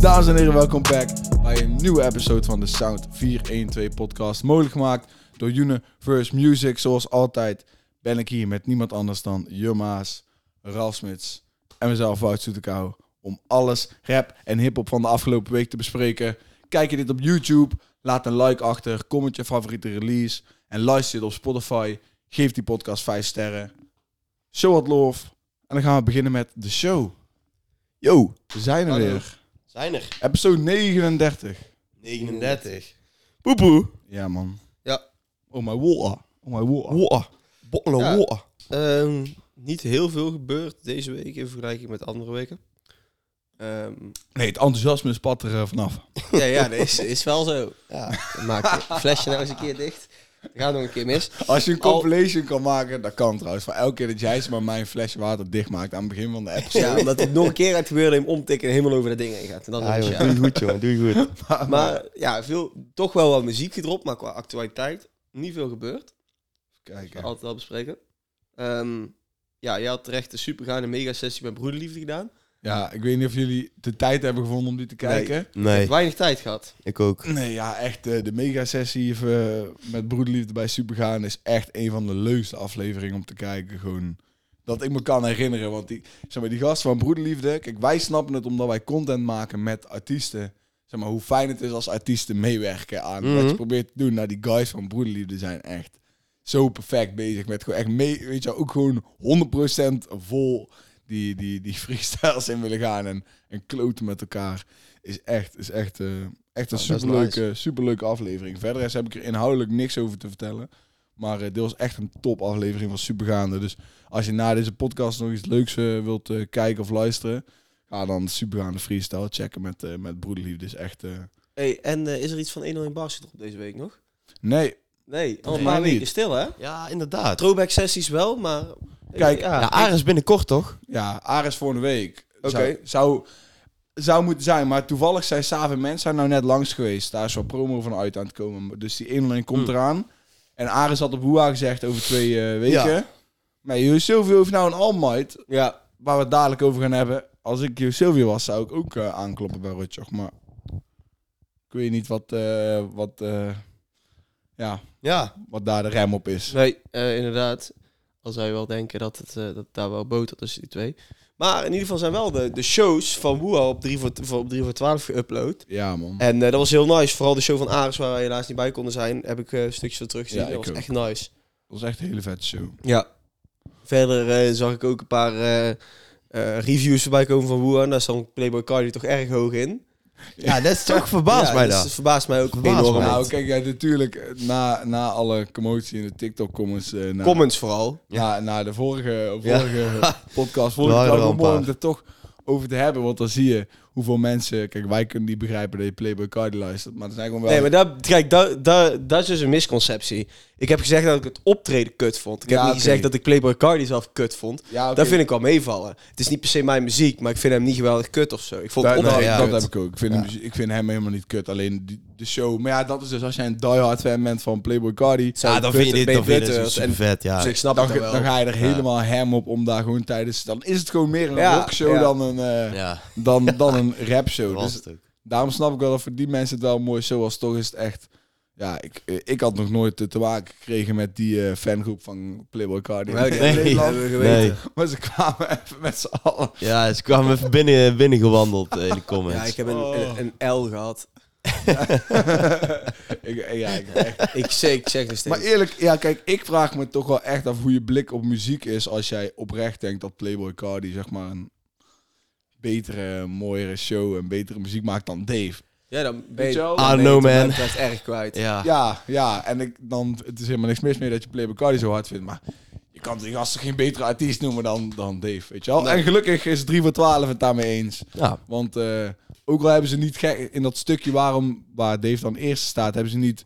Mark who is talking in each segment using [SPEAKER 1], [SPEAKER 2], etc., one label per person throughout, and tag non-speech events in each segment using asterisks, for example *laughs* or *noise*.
[SPEAKER 1] Dames en heren, welkom back bij een nieuwe episode van de Sound 412 podcast. Mogelijk gemaakt door Universe Music. Zoals altijd ben ik hier met niemand anders dan Jumma's, Ralf Smits en mezelf, Wout Soetekau. Om alles rap en hiphop van de afgelopen week te bespreken. Kijk je dit op YouTube, laat een like achter, comment je favoriete release en luister dit op Spotify. Geef die podcast 5 sterren. Show wat love. En dan gaan we beginnen met de show. Yo, we zijn er
[SPEAKER 2] Hallo.
[SPEAKER 1] weer.
[SPEAKER 2] Zijn er?
[SPEAKER 1] Episode 39.
[SPEAKER 2] 39. Poepoe.
[SPEAKER 1] Ja, man.
[SPEAKER 2] Ja.
[SPEAKER 1] Oh my water. Oh my water.
[SPEAKER 3] Woa. Bottelen,
[SPEAKER 2] Ja.
[SPEAKER 3] woa.
[SPEAKER 2] Ehm, niet heel veel gebeurd deze week in vergelijking met andere weken. Ehm,
[SPEAKER 1] Nee, het enthousiasme spat er eh, vanaf.
[SPEAKER 2] ja, ja, dat is, is wel zo. Ja, maak het flesje nou eens een keer dicht. Dat gaat nog een keer mis.
[SPEAKER 1] Als je een
[SPEAKER 2] Al-
[SPEAKER 1] compilation kan maken, dat kan trouwens. Van elke keer dat jij eens maar mijn flesje water dichtmaakt aan het begin van de episode.
[SPEAKER 2] Ja, omdat het *laughs* nog een keer uit gebeuren hem omtikken en helemaal over dat ding heen gaat. En dan
[SPEAKER 3] Ja,
[SPEAKER 2] is het
[SPEAKER 3] joh, doe
[SPEAKER 2] ja.
[SPEAKER 3] je goed, jongen. Doe je goed.
[SPEAKER 2] Maar ja, veel, toch wel wat muziek gedropt, maar qua actualiteit niet veel gebeurd.
[SPEAKER 1] Kijk,
[SPEAKER 2] Ja.
[SPEAKER 1] hè.
[SPEAKER 2] Altijd wel bespreken. Ehm, ja, je had terecht een supergaande mega-sessie met Broederliefde gedaan.
[SPEAKER 1] ja, ik weet niet of jullie de tijd hebben gevonden om die te kijken.
[SPEAKER 3] *laughs* Nee,
[SPEAKER 2] Weinig tijd gehad.
[SPEAKER 3] ik ook.
[SPEAKER 1] Nee, ja, echt. eh, de mega-sessie eh, met Broederliefde bij Supergaan is echt een van de leukste afleveringen om te kijken. Gewoon dat ik me kan herinneren. Want die, zeg maar, die gast van Broederliefde, kijk, wij snappen het omdat wij content maken met artiesten. Zeg maar, hoe fijn het is als artiesten meewerken aan wat je
[SPEAKER 2] Mhm.
[SPEAKER 1] probeert te doen. Nou, die guys van Broederliefde zijn echt zo perfect bezig met gewoon echt mee, weet je, wel, ook gewoon 100% vol die, die, die *laughs* freestyles in willen gaan en, en kloten met elkaar. Is echt, is echt, eh, echt een
[SPEAKER 3] Ja, dat is
[SPEAKER 1] superleuke, superleuke aflevering. Verder is- heb ik er inhoudelijk niks over te vertellen. Maar eh dit was echt een top aflevering van Supergaande. Dus als je na deze podcast nog iets leuks eh, wilt eh, kijken of luisteren, ga dan Supergaande Freestyle checken met, eh, met Broederliefde. Is echt... eh,
[SPEAKER 2] Hey, en eh, is er iets van 101 bars gedropt deze week nog?
[SPEAKER 1] nee,
[SPEAKER 2] Nee, al
[SPEAKER 1] Nee,
[SPEAKER 2] een paar
[SPEAKER 1] niet.
[SPEAKER 2] weken stil hè?
[SPEAKER 3] Ja, inderdaad.
[SPEAKER 2] Throwback sessies wel, maar...
[SPEAKER 1] Kijk,
[SPEAKER 2] ja,
[SPEAKER 3] Ja, Ares binnenkort, toch?
[SPEAKER 1] Ja, Ares voor een week.
[SPEAKER 2] Oké.
[SPEAKER 1] Zou, zou, zou moeten zijn. Maar toevallig zijn Saaf en Mens zijn nou net langs geweest. Daar is wel promo van uit aan het komen. Dus die 1
[SPEAKER 2] Mm.
[SPEAKER 1] komt eraan. En Ares had op Hoea gezegd over twee eh, weken. Maar Jo Silvio heeft nou een Almight.
[SPEAKER 2] ja,
[SPEAKER 1] Waar we het dadelijk over gaan hebben. Als ik Jo Silvio was, zou ik ook eh, aankloppen bij Rutjoch. Maar ik weet niet wat, eh, wat, eh, ja,
[SPEAKER 3] Ja.
[SPEAKER 1] wat daar de rem op is.
[SPEAKER 2] nee, eh, inderdaad. Al zou je wel denken dat het, eh, dat daar wel boter tussen die twee. Maar in ieder geval zijn wel de, de shows van Woeha op 3 voor, voor, op 3 voor 12 geüpload.
[SPEAKER 1] Ja, man.
[SPEAKER 2] En eh, dat was heel nice. Vooral de show van Ares, waar wij helaas niet bij konden zijn, heb ik eh, stukjes van teruggezien.
[SPEAKER 1] Ja, ik
[SPEAKER 2] dat was
[SPEAKER 1] ook.
[SPEAKER 2] echt nice.
[SPEAKER 1] Dat was echt een hele vette show.
[SPEAKER 2] Ja. Verder eh, zag ik ook een paar eh, eh, reviews voorbij komen van Woeha. En daar stond Playboy Cardi toch erg hoog in.
[SPEAKER 3] Ja, dat is toch verbaasd
[SPEAKER 2] ja,
[SPEAKER 3] mij
[SPEAKER 2] dus
[SPEAKER 3] dat.
[SPEAKER 2] het verbaast mij ook
[SPEAKER 3] Verbaast
[SPEAKER 2] enorm.
[SPEAKER 3] mij.
[SPEAKER 1] Nou,
[SPEAKER 3] Moment.
[SPEAKER 1] kijk, ja, natuurlijk, eh, na, na alle commotie in de TikTok-comments... eh, na,
[SPEAKER 2] Comments vooral.
[SPEAKER 1] na, na de vorige, vorige podcast, vond ik
[SPEAKER 3] waren
[SPEAKER 1] het wel
[SPEAKER 3] er al
[SPEAKER 1] heel mooi
[SPEAKER 3] een paar.
[SPEAKER 1] om het er toch over te hebben. Want dan zie je hoeveel mensen... Kijk, wij kunnen niet begrijpen dat je Playboy Cardi luistert. Maar er zijn gewoon wel...
[SPEAKER 2] Nee, maar dat, kijk, dat, dat, dat is dus een misconceptie. Ik heb gezegd dat ik het optreden kut vond. Ik heb
[SPEAKER 1] Ja,
[SPEAKER 2] niet
[SPEAKER 1] oké.
[SPEAKER 2] gezegd dat ik Playboy Cardi zelf kut vond.
[SPEAKER 1] ja, oké,
[SPEAKER 2] Daar vind ik wel meevallen. Het is niet per se mijn muziek, maar ik vind hem niet geweldig kut of zo. Ik vond
[SPEAKER 1] dat,
[SPEAKER 2] het
[SPEAKER 1] nee,
[SPEAKER 2] optreden
[SPEAKER 3] ja,
[SPEAKER 1] nou dat
[SPEAKER 2] kut.
[SPEAKER 1] heb ik ook. Ik vind,
[SPEAKER 3] Ja.
[SPEAKER 1] hem, ik vind hem helemaal niet kut. Alleen die- de show. Maar ja, dat is dus als jij een diehard fan bent van Playboy Cardi...
[SPEAKER 2] Zo
[SPEAKER 3] Ja, dan
[SPEAKER 2] kut,
[SPEAKER 3] vind je dit
[SPEAKER 2] ben
[SPEAKER 3] dan vind je dit
[SPEAKER 2] bitter.
[SPEAKER 3] zo super vet,
[SPEAKER 2] Dus
[SPEAKER 3] ja.
[SPEAKER 2] ik snap
[SPEAKER 1] Dan,
[SPEAKER 2] het
[SPEAKER 1] ge-
[SPEAKER 2] wel.
[SPEAKER 1] dan ga je er
[SPEAKER 3] Ja.
[SPEAKER 1] helemaal hem op om daar gewoon tijdens... Dan is het gewoon meer een
[SPEAKER 2] Ja,
[SPEAKER 1] rockshow
[SPEAKER 2] ja.
[SPEAKER 1] dan een, eh,
[SPEAKER 3] Ja,
[SPEAKER 1] dan, dan een
[SPEAKER 3] dat
[SPEAKER 1] rapshow.
[SPEAKER 3] was
[SPEAKER 1] Dus
[SPEAKER 3] het ook.
[SPEAKER 1] Daarom snap ik wel dat voor die mensen het wel mooi zo was. Toch is het echt... Ja, ik, eh, ik had nog nooit eh, te maken gekregen met die eh, fangroep van Playboy Cardi.
[SPEAKER 2] Nee,
[SPEAKER 1] in
[SPEAKER 2] nee,
[SPEAKER 1] Nederland.
[SPEAKER 2] hebben we
[SPEAKER 3] Nee.
[SPEAKER 2] geweten.
[SPEAKER 1] Maar ze kwamen *laughs* even met z'n allen.
[SPEAKER 3] Ja, ze kwamen even binnen, binnen gewandeld in de comments.
[SPEAKER 2] Ja, ik heb een,
[SPEAKER 1] Oh.
[SPEAKER 2] een, een L gehad.
[SPEAKER 1] ik, eh, ja, ik ben echt-
[SPEAKER 2] Ik zeg, ik zeg nog steeds.
[SPEAKER 1] Maar eerlijk, ja, kijk, ik vraag me toch wel echt af hoe je blik op muziek is als jij oprecht denkt dat Playboy Cardi zeg maar een betere, mooiere show en betere muziek maakt dan Dave.
[SPEAKER 2] Ja, dan ben
[SPEAKER 1] Weet je
[SPEAKER 2] je...
[SPEAKER 1] wel?
[SPEAKER 3] Ah,
[SPEAKER 2] dan ben je
[SPEAKER 3] no
[SPEAKER 2] het wat mij
[SPEAKER 3] man.
[SPEAKER 2] betreft erg kwijt.
[SPEAKER 1] *laughs*
[SPEAKER 3] Ja.
[SPEAKER 1] Ja, ja. En ik, dan, het is helemaal niks mis mee dat je Playboy Cardi zo hard vindt. Maar je kan die gasten geen betere artiest noemen dan, dan Dave, weet je wel? En gelukkig is 3 voor 12 het daarmee eens.
[SPEAKER 3] Ja.
[SPEAKER 1] Want eh, ook al hebben ze niet gek... In dat stukje waarom, waar Dave dan eerste staat, hebben ze niet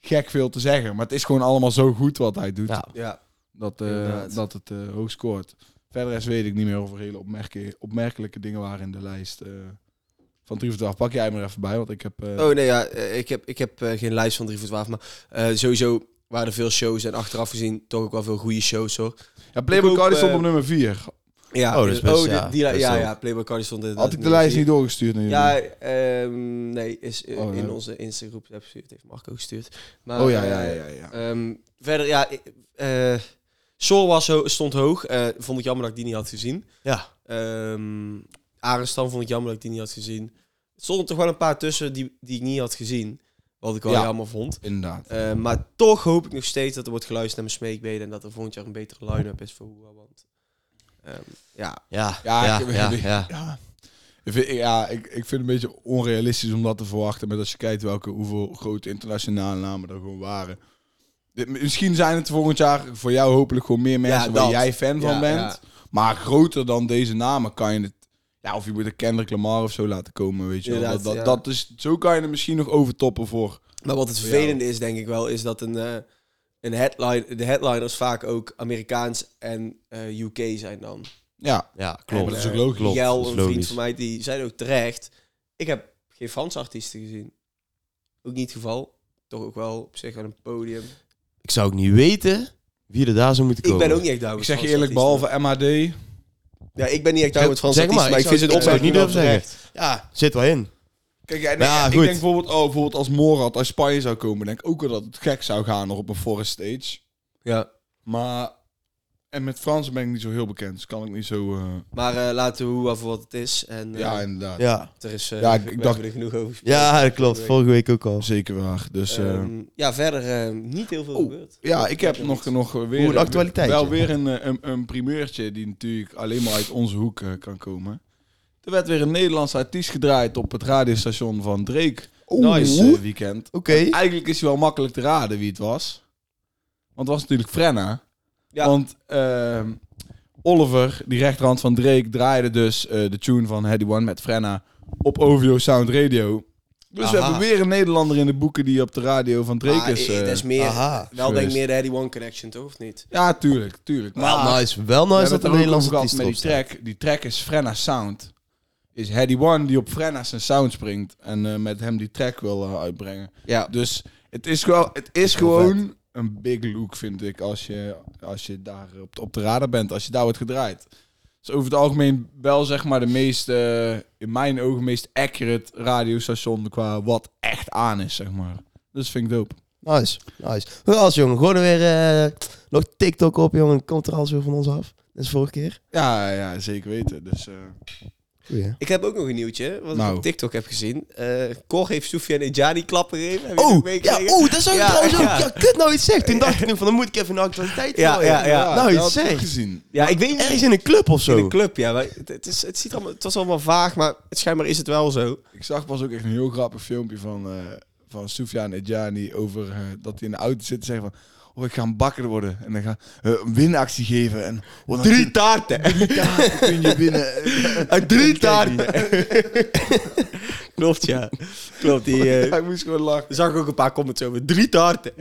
[SPEAKER 1] gek veel te zeggen. Maar het is gewoon allemaal zo goed wat hij doet.
[SPEAKER 3] Ja.
[SPEAKER 2] Ja.
[SPEAKER 1] Dat, eh,
[SPEAKER 2] Inderdaad.
[SPEAKER 1] dat het eh, hoog scoort. Verder is weet ik niet meer of er hele opmerke- opmerkelijke dingen waren in de lijst. eh, van 3 voor 12 pak jij maar even bij, want ik heb... eh,
[SPEAKER 2] Oh nee, ja, eh, ik heb, ik heb eh, geen lijst van 3 voor 12, maar eh, sowieso waren er veel shows en achteraf gezien toch ook wel veel goede shows hoor.
[SPEAKER 1] ja, Playboy
[SPEAKER 2] ik ook,
[SPEAKER 1] Cardi stond
[SPEAKER 2] eh,
[SPEAKER 1] op nummer 4.
[SPEAKER 2] Ja, eh,
[SPEAKER 3] Oh, dat is best,
[SPEAKER 2] die,
[SPEAKER 3] ja,
[SPEAKER 2] die, ja,
[SPEAKER 3] best
[SPEAKER 2] ja,
[SPEAKER 3] wel.
[SPEAKER 2] ja, Playboy Cardi stond in.
[SPEAKER 1] Had ik de lijst niet doorgestuurd naar jullie?
[SPEAKER 2] Ja, ehm, nee, is eh,
[SPEAKER 1] Oh,
[SPEAKER 2] in
[SPEAKER 1] ja.
[SPEAKER 2] onze Insta-groep heb- heeft Marco gestuurd. Maar,
[SPEAKER 1] Oh ja, ja,
[SPEAKER 2] eh,
[SPEAKER 1] ja, ja. ja.
[SPEAKER 2] Ehm, verder, ja, ik- eh Sor was ho- stond hoog. Eh, vond ik jammer dat ik die niet had gezien.
[SPEAKER 3] Ja.
[SPEAKER 2] Ehm Arenstam vond ik jammer dat ik die niet had gezien. Er stonden toch wel een paar tussen die, die ik niet had gezien. Wat ik wel
[SPEAKER 1] Ja.
[SPEAKER 2] jammer vond.
[SPEAKER 1] Inderdaad.
[SPEAKER 2] Eh, maar toch hoop ik nog steeds dat er wordt geluisterd naar mijn smeekbeden. En dat er volgend jaar een betere line-up is voor Hoera. Want ehm, ja,
[SPEAKER 3] Ja,
[SPEAKER 1] Ja,
[SPEAKER 3] ja,
[SPEAKER 1] ik-
[SPEAKER 3] ja,
[SPEAKER 1] ik-
[SPEAKER 3] ja.
[SPEAKER 1] Ja. Ik vind, ja, ik, ik vind het een beetje onrealistisch om dat te verwachten. Maar als je kijkt welke, hoeveel grote internationale namen er gewoon waren. Dit- Misschien zijn het volgend jaar voor jou hopelijk gewoon meer mensen waar
[SPEAKER 2] dat.
[SPEAKER 1] jij fan van
[SPEAKER 2] Ja,
[SPEAKER 1] bent.
[SPEAKER 2] ja.
[SPEAKER 1] Maar groter dan deze namen kan je het... Ja, of je moet een Kendrick Lamar of zo laten komen, weet je wel. Dat,
[SPEAKER 2] Inderdaad,
[SPEAKER 1] dat,
[SPEAKER 2] ja.
[SPEAKER 1] dat is, zo kan je er misschien nog overtoppen voor.
[SPEAKER 2] Maar wat het
[SPEAKER 1] Voor
[SPEAKER 2] vervelende is, denk ik wel, is dat een, eh, een headline, de headliners vaak ook Amerikaans en eh, UK zijn dan.
[SPEAKER 1] Ja,
[SPEAKER 3] Ja,
[SPEAKER 1] Ja, maar
[SPEAKER 3] klopt.
[SPEAKER 1] dat is ook logisch.
[SPEAKER 3] Klopt,
[SPEAKER 2] Eh, Jel,
[SPEAKER 3] dat is
[SPEAKER 2] een vriend
[SPEAKER 3] logisch.
[SPEAKER 2] van mij, die zei ook terecht, ik heb geen Franse artiesten gezien. Ook niet het geval. Toch ook wel op zich aan een podium.
[SPEAKER 3] Ik zou ook niet weten wie er daar zou moeten
[SPEAKER 2] Ik
[SPEAKER 3] komen.
[SPEAKER 2] ben ook niet echt daar
[SPEAKER 1] ik
[SPEAKER 2] met
[SPEAKER 1] zeg je
[SPEAKER 2] Franse
[SPEAKER 1] eerlijk,
[SPEAKER 2] artiesten.
[SPEAKER 1] behalve MHD...
[SPEAKER 2] Ja, ik ben niet echt daar met Franse
[SPEAKER 3] Zeg maar,
[SPEAKER 2] artiesten, maar ik
[SPEAKER 3] ik
[SPEAKER 2] vind
[SPEAKER 3] zou-
[SPEAKER 2] het
[SPEAKER 3] ik zou het
[SPEAKER 2] opmerking
[SPEAKER 3] niet
[SPEAKER 2] wel
[SPEAKER 3] durven zeggen.
[SPEAKER 2] terecht.
[SPEAKER 3] Ja, zit wel in.
[SPEAKER 1] Kijk, Nou ja, nee,
[SPEAKER 3] Ja,
[SPEAKER 1] ik
[SPEAKER 3] goed.
[SPEAKER 1] denk bijvoorbeeld, oh, bijvoorbeeld als Morad uit Spanje zou komen, denk ik ook wel dat het gek zou gaan nog op een forest stage.
[SPEAKER 2] Ja.
[SPEAKER 1] Maar, en met Fransen ben ik niet zo heel bekend, dus kan ik niet zo... eh,
[SPEAKER 2] Maar eh, laten we hoe voor wat het is. En eh,
[SPEAKER 1] ja, inderdaad.
[SPEAKER 3] Ja,
[SPEAKER 2] er is, eh,
[SPEAKER 1] Ja, ik-
[SPEAKER 2] we
[SPEAKER 1] ik
[SPEAKER 2] hebben
[SPEAKER 1] dacht-
[SPEAKER 2] er genoeg over gesproken.
[SPEAKER 3] ja dat klopt. Vorige week ook al.
[SPEAKER 1] Zeker waar. Dus, eh,
[SPEAKER 2] Ehm, ja, verder eh, niet heel veel
[SPEAKER 1] Oh,
[SPEAKER 2] gebeurd.
[SPEAKER 1] ja, ik heb nog, nog weer...
[SPEAKER 3] Hoe een actualiteitje.
[SPEAKER 1] Wel weer een, eh, een, een primeurtje die natuurlijk alleen maar uit onze hoek eh, kan komen. Er werd weer een Nederlandse artiest gedraaid op het radiostation van Drake. Nice eh, weekend.
[SPEAKER 3] Oké.
[SPEAKER 1] Eigenlijk is hij wel makkelijk te raden wie het was. Want het was natuurlijk Frenna.
[SPEAKER 2] Ja.
[SPEAKER 1] Want ehm, Oliver, die rechterhand van Drake, draaide dus eh, de tune van Heady One met Frenna op OVO Sound Radio. Dus we
[SPEAKER 3] Aha.
[SPEAKER 1] hebben weer een Nederlander in de boeken die op de radio van Drake
[SPEAKER 2] Ah,
[SPEAKER 1] is.
[SPEAKER 2] eh,
[SPEAKER 1] eh,
[SPEAKER 2] dat is meer,
[SPEAKER 3] aha,
[SPEAKER 2] wel denk ik
[SPEAKER 1] geweest.
[SPEAKER 2] meer de Eddie One Connection, toch? Of niet?
[SPEAKER 1] Ja, tuurlijk, tuurlijk. Maar
[SPEAKER 3] Wel nice. Wel
[SPEAKER 1] we hebben
[SPEAKER 3] nice Oh, dat
[SPEAKER 1] het
[SPEAKER 3] een
[SPEAKER 1] er ook over
[SPEAKER 3] Nederlandse
[SPEAKER 1] gehad
[SPEAKER 3] artiest
[SPEAKER 1] met
[SPEAKER 3] erop
[SPEAKER 1] die
[SPEAKER 3] staat.
[SPEAKER 1] track. Die track is Frenna Sound. Is Heady One die op Frenna zijn sound springt en eh, met hem die track wil eh, uitbrengen.
[SPEAKER 2] Ja.
[SPEAKER 1] Dus het is, wel, het is
[SPEAKER 3] wel
[SPEAKER 1] gewoon een big look, vind ik, als je, als je daar op de, op de radar bent, als je daar wordt gedraaid. Dus over het algemeen wel zeg maar de meest, eh, in mijn ogen, meest accurate radiostation qua wat echt aan is, zeg maar. Dus vind ik dope.
[SPEAKER 3] Nice, nice. Hoe als jongen, gewoon weer eh, nog TikTok op jongen, komt er alles weer van ons af. Dat is vorige keer.
[SPEAKER 1] Ja, ja, zeker weten. Dus eh,
[SPEAKER 3] Goeie, hè?
[SPEAKER 2] Ik heb ook nog een nieuwtje, wat
[SPEAKER 1] Nou.
[SPEAKER 2] ik op TikTok heb gezien. Eh Cor heeft Soufiane en Jani klappen gegeven. Heb je dat
[SPEAKER 3] Oh, ja,
[SPEAKER 2] meegekregen?
[SPEAKER 3] oeh, dat zou ik
[SPEAKER 2] Ja,
[SPEAKER 3] trouwens ook.
[SPEAKER 2] ja.
[SPEAKER 3] Ja. kut nou iets zegt. Toen dacht ik nu van, dan moet ik even een actualiteit
[SPEAKER 2] Ja,
[SPEAKER 3] gooien.
[SPEAKER 2] ja, ja.
[SPEAKER 3] Nou,
[SPEAKER 1] dat
[SPEAKER 3] iets
[SPEAKER 1] had ik
[SPEAKER 3] zegt.
[SPEAKER 1] gezien.
[SPEAKER 2] Ja, ik weet niet.
[SPEAKER 3] Ergens in een club of
[SPEAKER 2] in de
[SPEAKER 3] zo.
[SPEAKER 2] club, ja. Maar het, het is, het, ziet er allemaal, het was allemaal vaag, maar het, schijnbaar is het wel zo.
[SPEAKER 1] Ik zag pas ook echt een heel grappig filmpje van, eh van Soufiane Edjani over eh, dat hij in de auto zit en zegt van... Oh, ik ga een bakker worden. En dan ga eh, een winactie geven. En, oh, dan
[SPEAKER 2] Drie
[SPEAKER 3] *laughs*
[SPEAKER 2] taarten.
[SPEAKER 1] taarten kun je winnen.
[SPEAKER 3] eh,
[SPEAKER 2] Uit drie taarten. *laughs* Klopt, ja. Klopt. Die,
[SPEAKER 1] *laughs*
[SPEAKER 2] eh,
[SPEAKER 1] Ja, ik moest gewoon lachen.
[SPEAKER 2] er zag ik ook een paar comments over. Drie
[SPEAKER 3] *laughs*
[SPEAKER 2] taarten.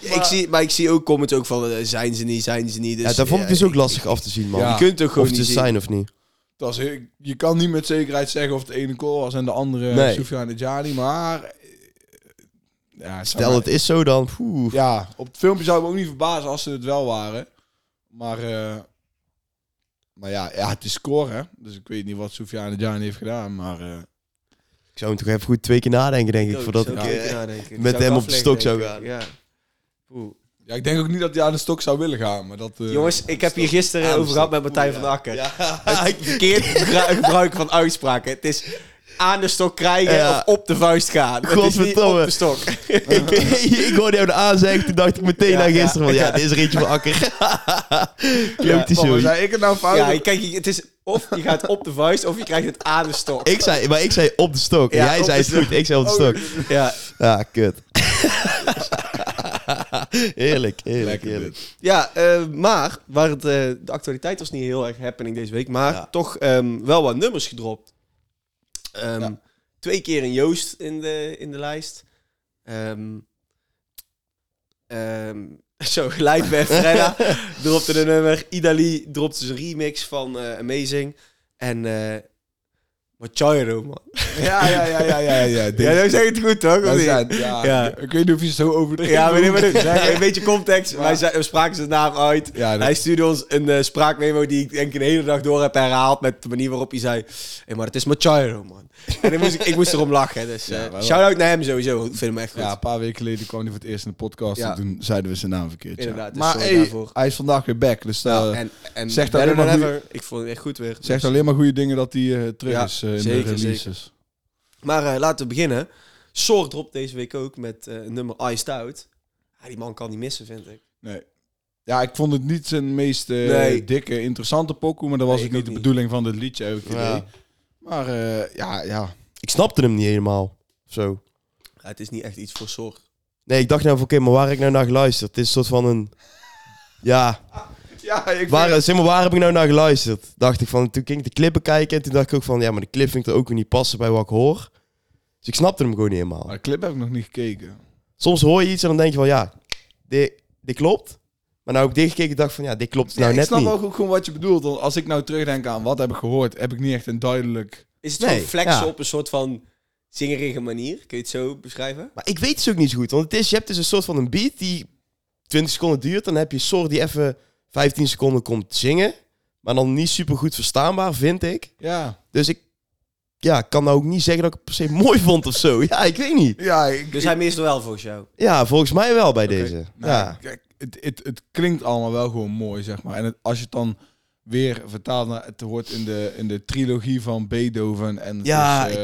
[SPEAKER 2] ik zie, maar ik zie ook comments ook van, eh, zijn ze niet, zijn ze niet. Dus,
[SPEAKER 3] Ja, dat vond ik dus ook
[SPEAKER 2] ik-
[SPEAKER 3] lastig af te zien, man.
[SPEAKER 1] Ja.
[SPEAKER 2] Je kunt ook gewoon
[SPEAKER 3] Of
[SPEAKER 2] niet
[SPEAKER 3] te
[SPEAKER 2] zien.
[SPEAKER 3] zijn of niet.
[SPEAKER 1] Het was heel- je kan niet met zekerheid zeggen of de ene Cole was en de andere
[SPEAKER 3] Nee.
[SPEAKER 1] Soufiane Edjani. Maar... eh, Ja, het zou
[SPEAKER 3] Stel
[SPEAKER 1] mij-
[SPEAKER 3] het is zo dan. poeh.
[SPEAKER 1] Ja, op het filmpje zou ik me ook niet verbazen als ze het wel waren. Maar... eh, maar ja, ja, het is score, hè. Dus ik weet niet wat Soufiane Edjani heeft gedaan, maar... eh,
[SPEAKER 3] Ik zou hem toch even goed twee keer nadenken, denk ik.
[SPEAKER 2] ook,
[SPEAKER 3] voordat
[SPEAKER 2] zou
[SPEAKER 3] ik...
[SPEAKER 2] ik
[SPEAKER 3] eh,
[SPEAKER 2] ook nadenken.
[SPEAKER 3] met
[SPEAKER 2] Zou ik
[SPEAKER 3] hem op de
[SPEAKER 2] afleggen,
[SPEAKER 3] stok zou
[SPEAKER 2] denk
[SPEAKER 3] gaan.
[SPEAKER 2] ik. Ja. Oeh.
[SPEAKER 1] Ja, ik denk ook niet dat hij aan de stok zou willen gaan, maar dat... eh,
[SPEAKER 2] Jongens, ik heb hier gisteren
[SPEAKER 3] Aan de
[SPEAKER 2] over gehad met
[SPEAKER 3] stok.
[SPEAKER 2] Martijn
[SPEAKER 3] Oeh,
[SPEAKER 2] van
[SPEAKER 3] ja.
[SPEAKER 2] de Akker.
[SPEAKER 3] Ja, *laughs*
[SPEAKER 2] Het verkeerd gebru- *laughs* gebruik van uitspraken. Het is aan de stok krijgen
[SPEAKER 3] Ja.
[SPEAKER 2] of op de vuist gaan. Het is niet op
[SPEAKER 3] Godverdomme.
[SPEAKER 2] de stok.
[SPEAKER 3] *laughs* ik, ik hoorde jou de aanzeggen, toen dacht ik meteen
[SPEAKER 2] Ja,
[SPEAKER 3] aan
[SPEAKER 2] ja.
[SPEAKER 3] gisteren van, ja, dit is Rietje van
[SPEAKER 2] *laughs*
[SPEAKER 3] Akker. Klopt die
[SPEAKER 1] Papa,
[SPEAKER 3] zo.
[SPEAKER 1] zei ik het nou fout?
[SPEAKER 2] ja, je- kijk, je- het is of je gaat op de vuist of je krijgt het aan de stok.
[SPEAKER 3] Ik zei, maar ik zei op de stok.
[SPEAKER 2] Ja,
[SPEAKER 3] Jij
[SPEAKER 2] op
[SPEAKER 3] zei
[SPEAKER 2] de
[SPEAKER 3] het goed, ik
[SPEAKER 1] Oh,
[SPEAKER 3] zei op de stok.
[SPEAKER 2] Ja,
[SPEAKER 3] Ja, kut. *laughs* heerlijk, heerlijk,
[SPEAKER 1] Lekker
[SPEAKER 3] heerlijk.
[SPEAKER 1] dit.
[SPEAKER 2] ja eh, maar waar het, eh, de actualiteit was niet heel erg happening deze week, maar
[SPEAKER 3] Ja.
[SPEAKER 2] toch ehm, wel wat nummers gedropt. Ehm,
[SPEAKER 1] Ja.
[SPEAKER 2] Twee keer een Joost in de, in de lijst. Ehm, ehm, *laughs* zo, gelijk
[SPEAKER 1] *laughs*
[SPEAKER 2] bij Frenna. dropte een nummer. Idali dropte zijn remix van eh, Amazing. En eh Machairo, man.
[SPEAKER 1] *laughs* Ah, Ja, ja, ja, ja, ja. ja. Dit-
[SPEAKER 2] *laughs* Ja, nou zeg je het goed, toch? Of
[SPEAKER 1] wij
[SPEAKER 2] niet?
[SPEAKER 1] zijn, ja. *laughs*
[SPEAKER 2] Ja.
[SPEAKER 1] Ik weet niet of je het zo overdreven
[SPEAKER 2] Ja, maar, nee, maar
[SPEAKER 1] moet *laughs*
[SPEAKER 2] dit-
[SPEAKER 1] zeggen.
[SPEAKER 2] een beetje context. Wij zei- we spraken zijn naam uit.
[SPEAKER 1] Ja, dat-
[SPEAKER 2] Hij stuurde ons een eh, spraakmemo die ik denk ik de hele dag door heb herhaald. Met de manier waarop hij zei: hey, maar het is Machiro, man. En dan moest ik, ik moest erom lachen. Dus eh,
[SPEAKER 1] Ja, maar-
[SPEAKER 2] shout-out naar hem sowieso. Ik vind hem echt goed.
[SPEAKER 1] Ja, een paar weken geleden kwam hij voor het eerst in de podcast.
[SPEAKER 2] Ja.
[SPEAKER 1] En toen zeiden we zijn naam verkeerd. ja.
[SPEAKER 2] Inderdaad, dus
[SPEAKER 1] maar
[SPEAKER 2] sorry
[SPEAKER 1] hey,
[SPEAKER 2] daarvoor.
[SPEAKER 1] hij is vandaag weer back. Dus eh,
[SPEAKER 2] en, en
[SPEAKER 1] zegt
[SPEAKER 2] better
[SPEAKER 1] alleen maar
[SPEAKER 2] than
[SPEAKER 1] hoe-
[SPEAKER 2] ever. Ik vond het echt goed weer.
[SPEAKER 1] zegt alleen maar goede dingen dat hij eh, terug
[SPEAKER 2] Ja,
[SPEAKER 1] is eh, in
[SPEAKER 2] zeker,
[SPEAKER 1] de releases.
[SPEAKER 2] Maar eh, laten we beginnen. Soort dropt deze week ook met eh, een nummer Iced Out. Ja, die man kan niet missen, vind ik.
[SPEAKER 1] Nee. Ja, ik vond het niet zijn meest eh,
[SPEAKER 2] Nee.
[SPEAKER 1] dikke, interessante pokoe. Maar dat was
[SPEAKER 2] Nee,
[SPEAKER 1] ook
[SPEAKER 2] ik
[SPEAKER 1] niet de
[SPEAKER 2] ook niet.
[SPEAKER 1] bedoeling van dit liedje, heb ik het
[SPEAKER 3] Ja.
[SPEAKER 1] idee. Maar eh, ja, ja.
[SPEAKER 3] Ik snapte hem niet helemaal. Zo.
[SPEAKER 2] Ja, het is niet echt iets voor zorg.
[SPEAKER 3] Nee, ik dacht nou van oké, maar waar heb ik nou naar geluisterd? Het is een soort van een... Ja,
[SPEAKER 1] Ja, ik
[SPEAKER 3] waar, zeg maar, waar heb ik nou naar geluisterd? Dacht ik van, toen ging ik de clippen kijken en toen dacht ik ook van... Ja, maar de clip vind ik er ook weer niet passen bij wat ik hoor. Dus ik snapte hem gewoon niet helemaal.
[SPEAKER 1] Maar de clip heb ik nog niet gekeken.
[SPEAKER 3] Soms hoor je iets en dan denk je van ja, dit, dit klopt. Maar nou heb ik dit gekeken dacht ik van ja, dit klopt nou
[SPEAKER 1] Ja, ik
[SPEAKER 3] net
[SPEAKER 1] snap
[SPEAKER 3] niet.
[SPEAKER 1] ook gewoon wat je bedoelt. Want als ik nou terugdenk aan wat heb ik gehoord, heb ik niet echt een duidelijk...
[SPEAKER 2] Is het
[SPEAKER 3] Nee,
[SPEAKER 2] gewoon flexen
[SPEAKER 3] ja.
[SPEAKER 2] op een soort van zingerige manier? Kun je het zo beschrijven?
[SPEAKER 3] Maar ik weet het ook niet zo goed. Want het is, je hebt dus een soort van een beat die 20 seconden duurt. Dan heb je Sor die even 15 seconden komt zingen. Maar dan niet super goed verstaanbaar, vind ik.
[SPEAKER 1] Ja,
[SPEAKER 3] Dus ik ja, kan nou ook niet zeggen dat ik het per se mooi *laughs* vond of zo. Ja, ik weet niet.
[SPEAKER 1] ja ik,
[SPEAKER 2] Dus hij mist wel volgens jou.
[SPEAKER 3] Ja, volgens mij wel bij deze.
[SPEAKER 1] Nou,
[SPEAKER 3] ja.
[SPEAKER 1] kijk, het, het, het klinkt allemaal wel gewoon mooi, zeg maar. En het, als je het dan weer vertaalt naar... Het hoort in de, in de trilogie van Beethoven en het
[SPEAKER 3] Ja,
[SPEAKER 1] is,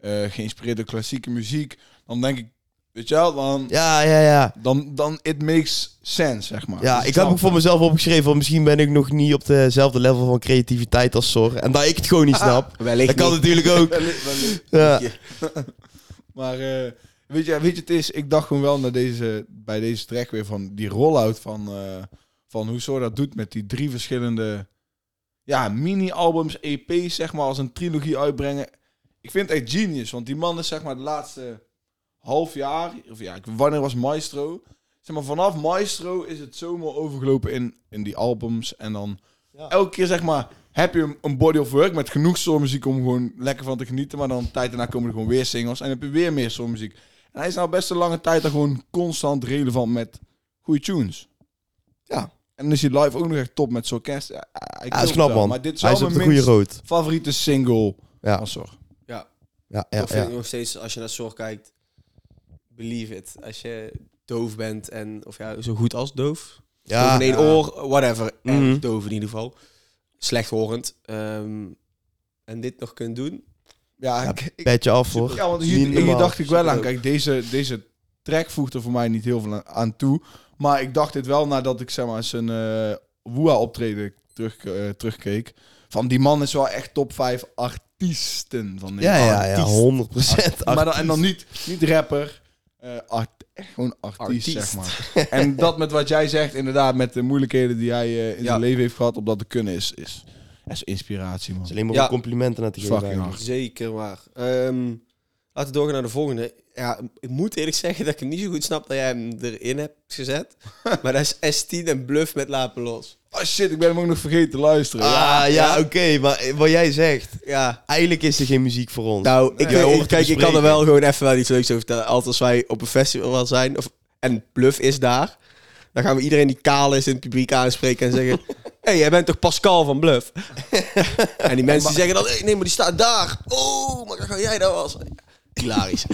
[SPEAKER 1] eh, eh, geïnspireerd door klassieke muziek. Dan denk ik, weet je wel, dan...
[SPEAKER 3] ja, ja, ja.
[SPEAKER 1] Dan, dan it makes sense, zeg maar.
[SPEAKER 3] Ja,
[SPEAKER 1] Dus
[SPEAKER 3] ik had
[SPEAKER 1] snap
[SPEAKER 3] ook voor
[SPEAKER 1] het.
[SPEAKER 3] mezelf opgeschreven, want misschien ben ik nog niet op dezelfde level van creativiteit als Sor. En dat ik het gewoon niet snap.
[SPEAKER 2] Wellicht
[SPEAKER 3] Dat kan natuurlijk
[SPEAKER 2] *laughs*
[SPEAKER 3] ook.
[SPEAKER 1] Wellicht, wellicht.
[SPEAKER 3] Ja.
[SPEAKER 1] Maar eh, weet, je, weet je, het is... Ik dacht gewoon wel naar deze, bij deze track weer van die rollout van, eh van hoe Sora dat doet met die drie verschillende ja, mini-albums, EP's, zeg maar, als een trilogie uitbrengen. Ik vind het echt genius, want die man is zeg maar de laatste half jaar, of ja, ik- wanneer was Maestro? Zeg maar, vanaf Maestro is het zomaar overgelopen in, in die albums en dan
[SPEAKER 3] Ja.
[SPEAKER 1] elke keer zeg maar heb je een- een body of work met genoeg soulmuziek om gewoon lekker van te genieten, maar dan een tijd daarna komen er gewoon weer singles en heb je weer meer soulmuziek. En hij is nou best een lange tijd al gewoon constant relevant met goede tunes.
[SPEAKER 3] Ja.
[SPEAKER 1] En dan is hij live ook nog echt top met zijn orkest. Ja, hij
[SPEAKER 3] Ja, dat
[SPEAKER 1] kilt
[SPEAKER 3] is knap,
[SPEAKER 1] wel,
[SPEAKER 3] man.
[SPEAKER 1] Maar dit is
[SPEAKER 3] Hij
[SPEAKER 1] wel
[SPEAKER 3] is op de
[SPEAKER 1] mijn
[SPEAKER 3] goede
[SPEAKER 1] minst
[SPEAKER 3] rood.
[SPEAKER 1] favoriete single
[SPEAKER 3] Ja.
[SPEAKER 1] van Sor.
[SPEAKER 3] Ja, ja,
[SPEAKER 2] Toch vind
[SPEAKER 3] ja.
[SPEAKER 2] ik nog steeds, als je naar zorg kijkt, believe it. Als je doof bent en, of ja, zo goed als doof. Ja,
[SPEAKER 3] Ja,
[SPEAKER 2] in één
[SPEAKER 1] ja.
[SPEAKER 2] oor, whatever.
[SPEAKER 3] Mhm.
[SPEAKER 2] En doof in ieder geval. Slechthorend. ehm, en dit nog kunt doen.
[SPEAKER 1] Ja,
[SPEAKER 3] Ja,
[SPEAKER 1] ik- ik-
[SPEAKER 3] petje af hoor.
[SPEAKER 1] ja want
[SPEAKER 3] Niet
[SPEAKER 1] hier, hier
[SPEAKER 3] normaal.
[SPEAKER 1] dacht ik wel aan.
[SPEAKER 2] Superleuk.
[SPEAKER 1] Kijk, deze, deze track voegt er voor mij niet heel veel aan- aan toe. Maar ik dacht dit wel nadat ik zeg maar zijn eh Woeha optreden terug, eh, terugkeek. Van die man is wel echt top 5 artiesten van
[SPEAKER 3] Ja,
[SPEAKER 1] Nederland.
[SPEAKER 3] ja, ja, 100 procent.
[SPEAKER 1] Maar dan, en dan niet, niet rapper. eh, art, echt gewoon artiest,
[SPEAKER 2] Artiest.
[SPEAKER 1] zeg
[SPEAKER 3] *laughs*
[SPEAKER 1] maar. en dat met wat jij zegt, inderdaad, met de moeilijkheden die hij eh, in
[SPEAKER 2] Ja.
[SPEAKER 1] zijn leven heeft gehad, op dat te kunnen is, is, is inspiratie, man.
[SPEAKER 3] is alleen maar
[SPEAKER 2] Ja.
[SPEAKER 3] om complimenten naar te
[SPEAKER 1] Is
[SPEAKER 3] geven.
[SPEAKER 1] fucking
[SPEAKER 3] eigenlijk.
[SPEAKER 2] Zeker waar. Ehm, laten we doorgaan naar de volgende. Ja, ik moet eerlijk zeggen dat ik hem niet zo goed snap dat jij hem erin hebt gezet.
[SPEAKER 3] *laughs*
[SPEAKER 2] maar dat is S10 en Bluff met Lapen Los.
[SPEAKER 1] Oh shit, ik ben hem ook nog vergeten te luisteren.
[SPEAKER 3] Ah, ja, oké. maar wat jij zegt,
[SPEAKER 2] Ja.
[SPEAKER 3] eigenlijk is er geen muziek voor ons.
[SPEAKER 2] Nou, ik,
[SPEAKER 3] Jij hoort
[SPEAKER 2] ik, kijk,
[SPEAKER 3] te
[SPEAKER 2] ik kan er
[SPEAKER 3] bespreken.
[SPEAKER 2] wel gewoon even wel iets leuks over vertellen. Altijd als wij op een festival zijn of, en Bluff is daar, dan gaan we iedereen die kaal is in het publiek aanspreken en
[SPEAKER 3] *laughs*
[SPEAKER 2] zeggen... Hé, hey, jij bent toch Pascal van Bluff? en die mensen die zeggen dan, "Hey, nee, maar die staat daar. Oh, maar ga jij daar was?
[SPEAKER 3] *laughs*
[SPEAKER 2] Hilarisch.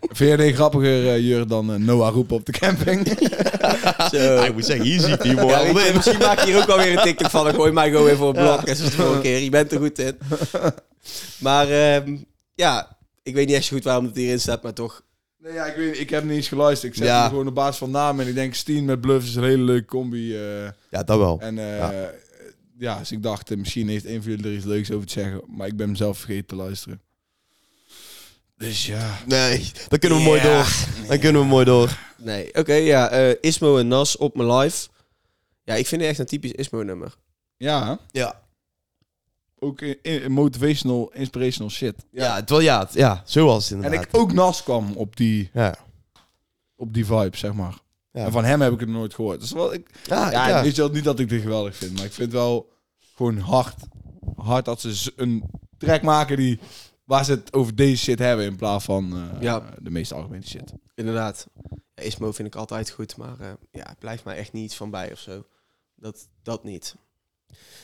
[SPEAKER 1] Vind je die grappiger, eh, Jur, dan eh, Noah roepen op de camping?
[SPEAKER 2] Zo.
[SPEAKER 3] Ah, ik moet zeggen, hier zie ik humor
[SPEAKER 2] Ja,
[SPEAKER 3] wel
[SPEAKER 2] weet je,
[SPEAKER 3] in.
[SPEAKER 2] misschien maak je hier ook alweer een TikTok van. Dan gooi mij gewoon weer voor een blok. En zo is het voor een keer. Je bent er goed
[SPEAKER 3] *laughs*
[SPEAKER 2] in. Maar ehm, ja, ik weet niet echt zo goed waarom het hierin staat, maar toch.
[SPEAKER 1] nee, ja, ik, weet, niet, ik heb niet eens geluisterd. Ik zet
[SPEAKER 3] Ja.
[SPEAKER 1] hem gewoon op basis van naam en ik denk, Steen met Bluff is een hele leuke combi. eh,
[SPEAKER 3] Ja, dat wel.
[SPEAKER 1] en eh,
[SPEAKER 3] Ja.
[SPEAKER 1] ja. dus ik dacht, eh, misschien heeft een van jullie er iets leuks over te zeggen, maar ik ben hem zelf vergeten te luisteren. Dus ja...
[SPEAKER 3] Nee, dan kunnen we mooi
[SPEAKER 2] Ja.
[SPEAKER 3] door. Dan kunnen we mooi door.
[SPEAKER 2] Nee, oké, ja. eh, Ismo en Nas op mijn live. Ja, ik vind het echt een typisch Ismo-nummer.
[SPEAKER 1] Ja, hè?
[SPEAKER 3] Ja,
[SPEAKER 1] ook eh, in, in- motivational, inspirational shit.
[SPEAKER 3] ja. het wel ja, het- ja, zo was het
[SPEAKER 1] En
[SPEAKER 3] inderdaad.
[SPEAKER 1] ik ook Nas kwam op die,
[SPEAKER 3] Ja.
[SPEAKER 1] op die vibe, zeg maar.
[SPEAKER 3] Ja.
[SPEAKER 1] En van hem heb ik het nooit gehoord. Dus wel, ik,
[SPEAKER 3] Ja,
[SPEAKER 1] ja,
[SPEAKER 3] ja.
[SPEAKER 1] Weet je wel, niet dat ik dit geweldig vind, maar ik vind wel gewoon hard. Hard dat ze z- een track maken die waar ze het over deze shit hebben in plaats van eh,
[SPEAKER 2] Ja.
[SPEAKER 1] de meest algemene shit.
[SPEAKER 2] Inderdaad. Ja, Ismo vind ik altijd goed, maar eh, ja, het blijft mij echt niet van bij of zo. Dat, dat niet.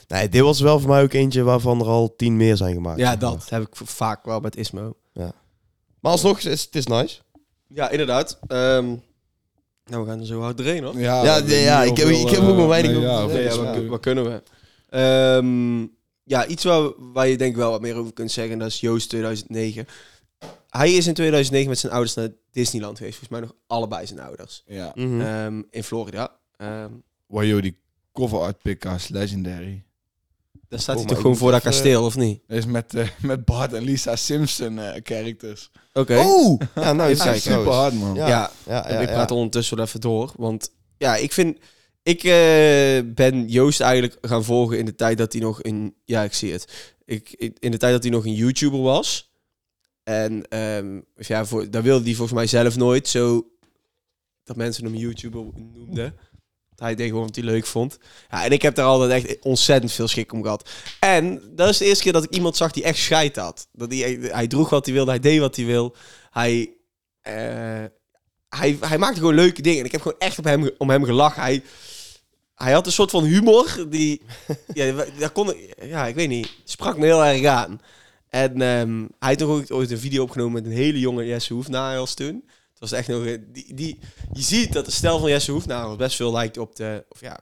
[SPEAKER 3] Nee, dit was wel voor mij ook eentje waarvan er al tien meer zijn gemaakt.
[SPEAKER 2] Ja, dat heb ik v- vaak wel met Ismo.
[SPEAKER 3] Maar alsnog, is, het is nice.
[SPEAKER 2] Ja, inderdaad. Ehm, nou, we gaan er zo hard doorheen, hoor.
[SPEAKER 1] Ja,
[SPEAKER 3] ja,
[SPEAKER 1] we-
[SPEAKER 3] ja,
[SPEAKER 1] heel
[SPEAKER 3] ik heb-
[SPEAKER 1] veel,
[SPEAKER 3] ik heb
[SPEAKER 1] eh,
[SPEAKER 3] ook maar weinig
[SPEAKER 1] nee,
[SPEAKER 3] over
[SPEAKER 1] ja,
[SPEAKER 3] te
[SPEAKER 1] over
[SPEAKER 2] Nee,
[SPEAKER 1] te
[SPEAKER 2] ja, wat,
[SPEAKER 1] zeggen.
[SPEAKER 2] kun- wat kunnen we? Ehm, ja, iets waar, waar je denk ik wel wat meer over kunt zeggen, dat is Joost 2009. Hij is in 2009 met zijn ouders naar Disneyland geweest. Volgens mij nog allebei zijn ouders.
[SPEAKER 1] Ja.
[SPEAKER 3] Eh,
[SPEAKER 2] Ehm, in Florida. Ehm,
[SPEAKER 1] Wow, joh, die cover art picka's, legendary.
[SPEAKER 2] daar staat
[SPEAKER 3] Oh,
[SPEAKER 2] hij
[SPEAKER 3] maar
[SPEAKER 2] toch
[SPEAKER 3] ik
[SPEAKER 2] gewoon voor
[SPEAKER 3] moet
[SPEAKER 2] dat
[SPEAKER 3] even-
[SPEAKER 2] kasteel, of niet?
[SPEAKER 1] Dat is met, eh, met Bart en Lisa Simpson eh, characters.
[SPEAKER 2] Eh, Oké.
[SPEAKER 3] Oeh! Ja,
[SPEAKER 1] Dit
[SPEAKER 3] nou, dit
[SPEAKER 1] oh, is
[SPEAKER 3] kijk
[SPEAKER 1] echt super
[SPEAKER 3] trouwens.
[SPEAKER 1] hard, man.
[SPEAKER 3] Ja.
[SPEAKER 2] ja,
[SPEAKER 3] Ja,
[SPEAKER 2] ik
[SPEAKER 3] ja,
[SPEAKER 2] praat
[SPEAKER 3] ja. *laughs*
[SPEAKER 2] ondertussen wel even door. Want ja, ik vind. Ik eh, ben Joost eigenlijk gaan volgen in de tijd dat hij nog een. Ja, ik zie het. Ik, ik- in de tijd dat hij nog een YouTuber was. En ehm, of ja, voor, daar wilde hij volgens mij zelf nooit zo. Dat mensen hem YouTuber noemden. Hij deed gewoon wat hij leuk vond. Ja, en ik heb daar altijd echt ontzettend veel schik om gehad. En dat is de eerste keer dat ik iemand zag die echt scheid had. Dat hij, hij droeg wat hij wilde, hij deed wat hij wil. Hij, eh, hij, hij maakte gewoon leuke dingen. En ik heb gewoon echt op hem, ge- om hem gelachen. Hij, hij had een soort van humor die... ja, wa- daar kon, ik- ja, ik weet niet. Sprak me heel erg aan. En ehm, hij heeft toch ook ooit een video opgenomen met een hele jonge Jesse Hoefnagels toen. Het was echt nog... een- Die, die, je ziet dat de stijl van Jesse Hoefnagels best veel lijkt op de... Of ja,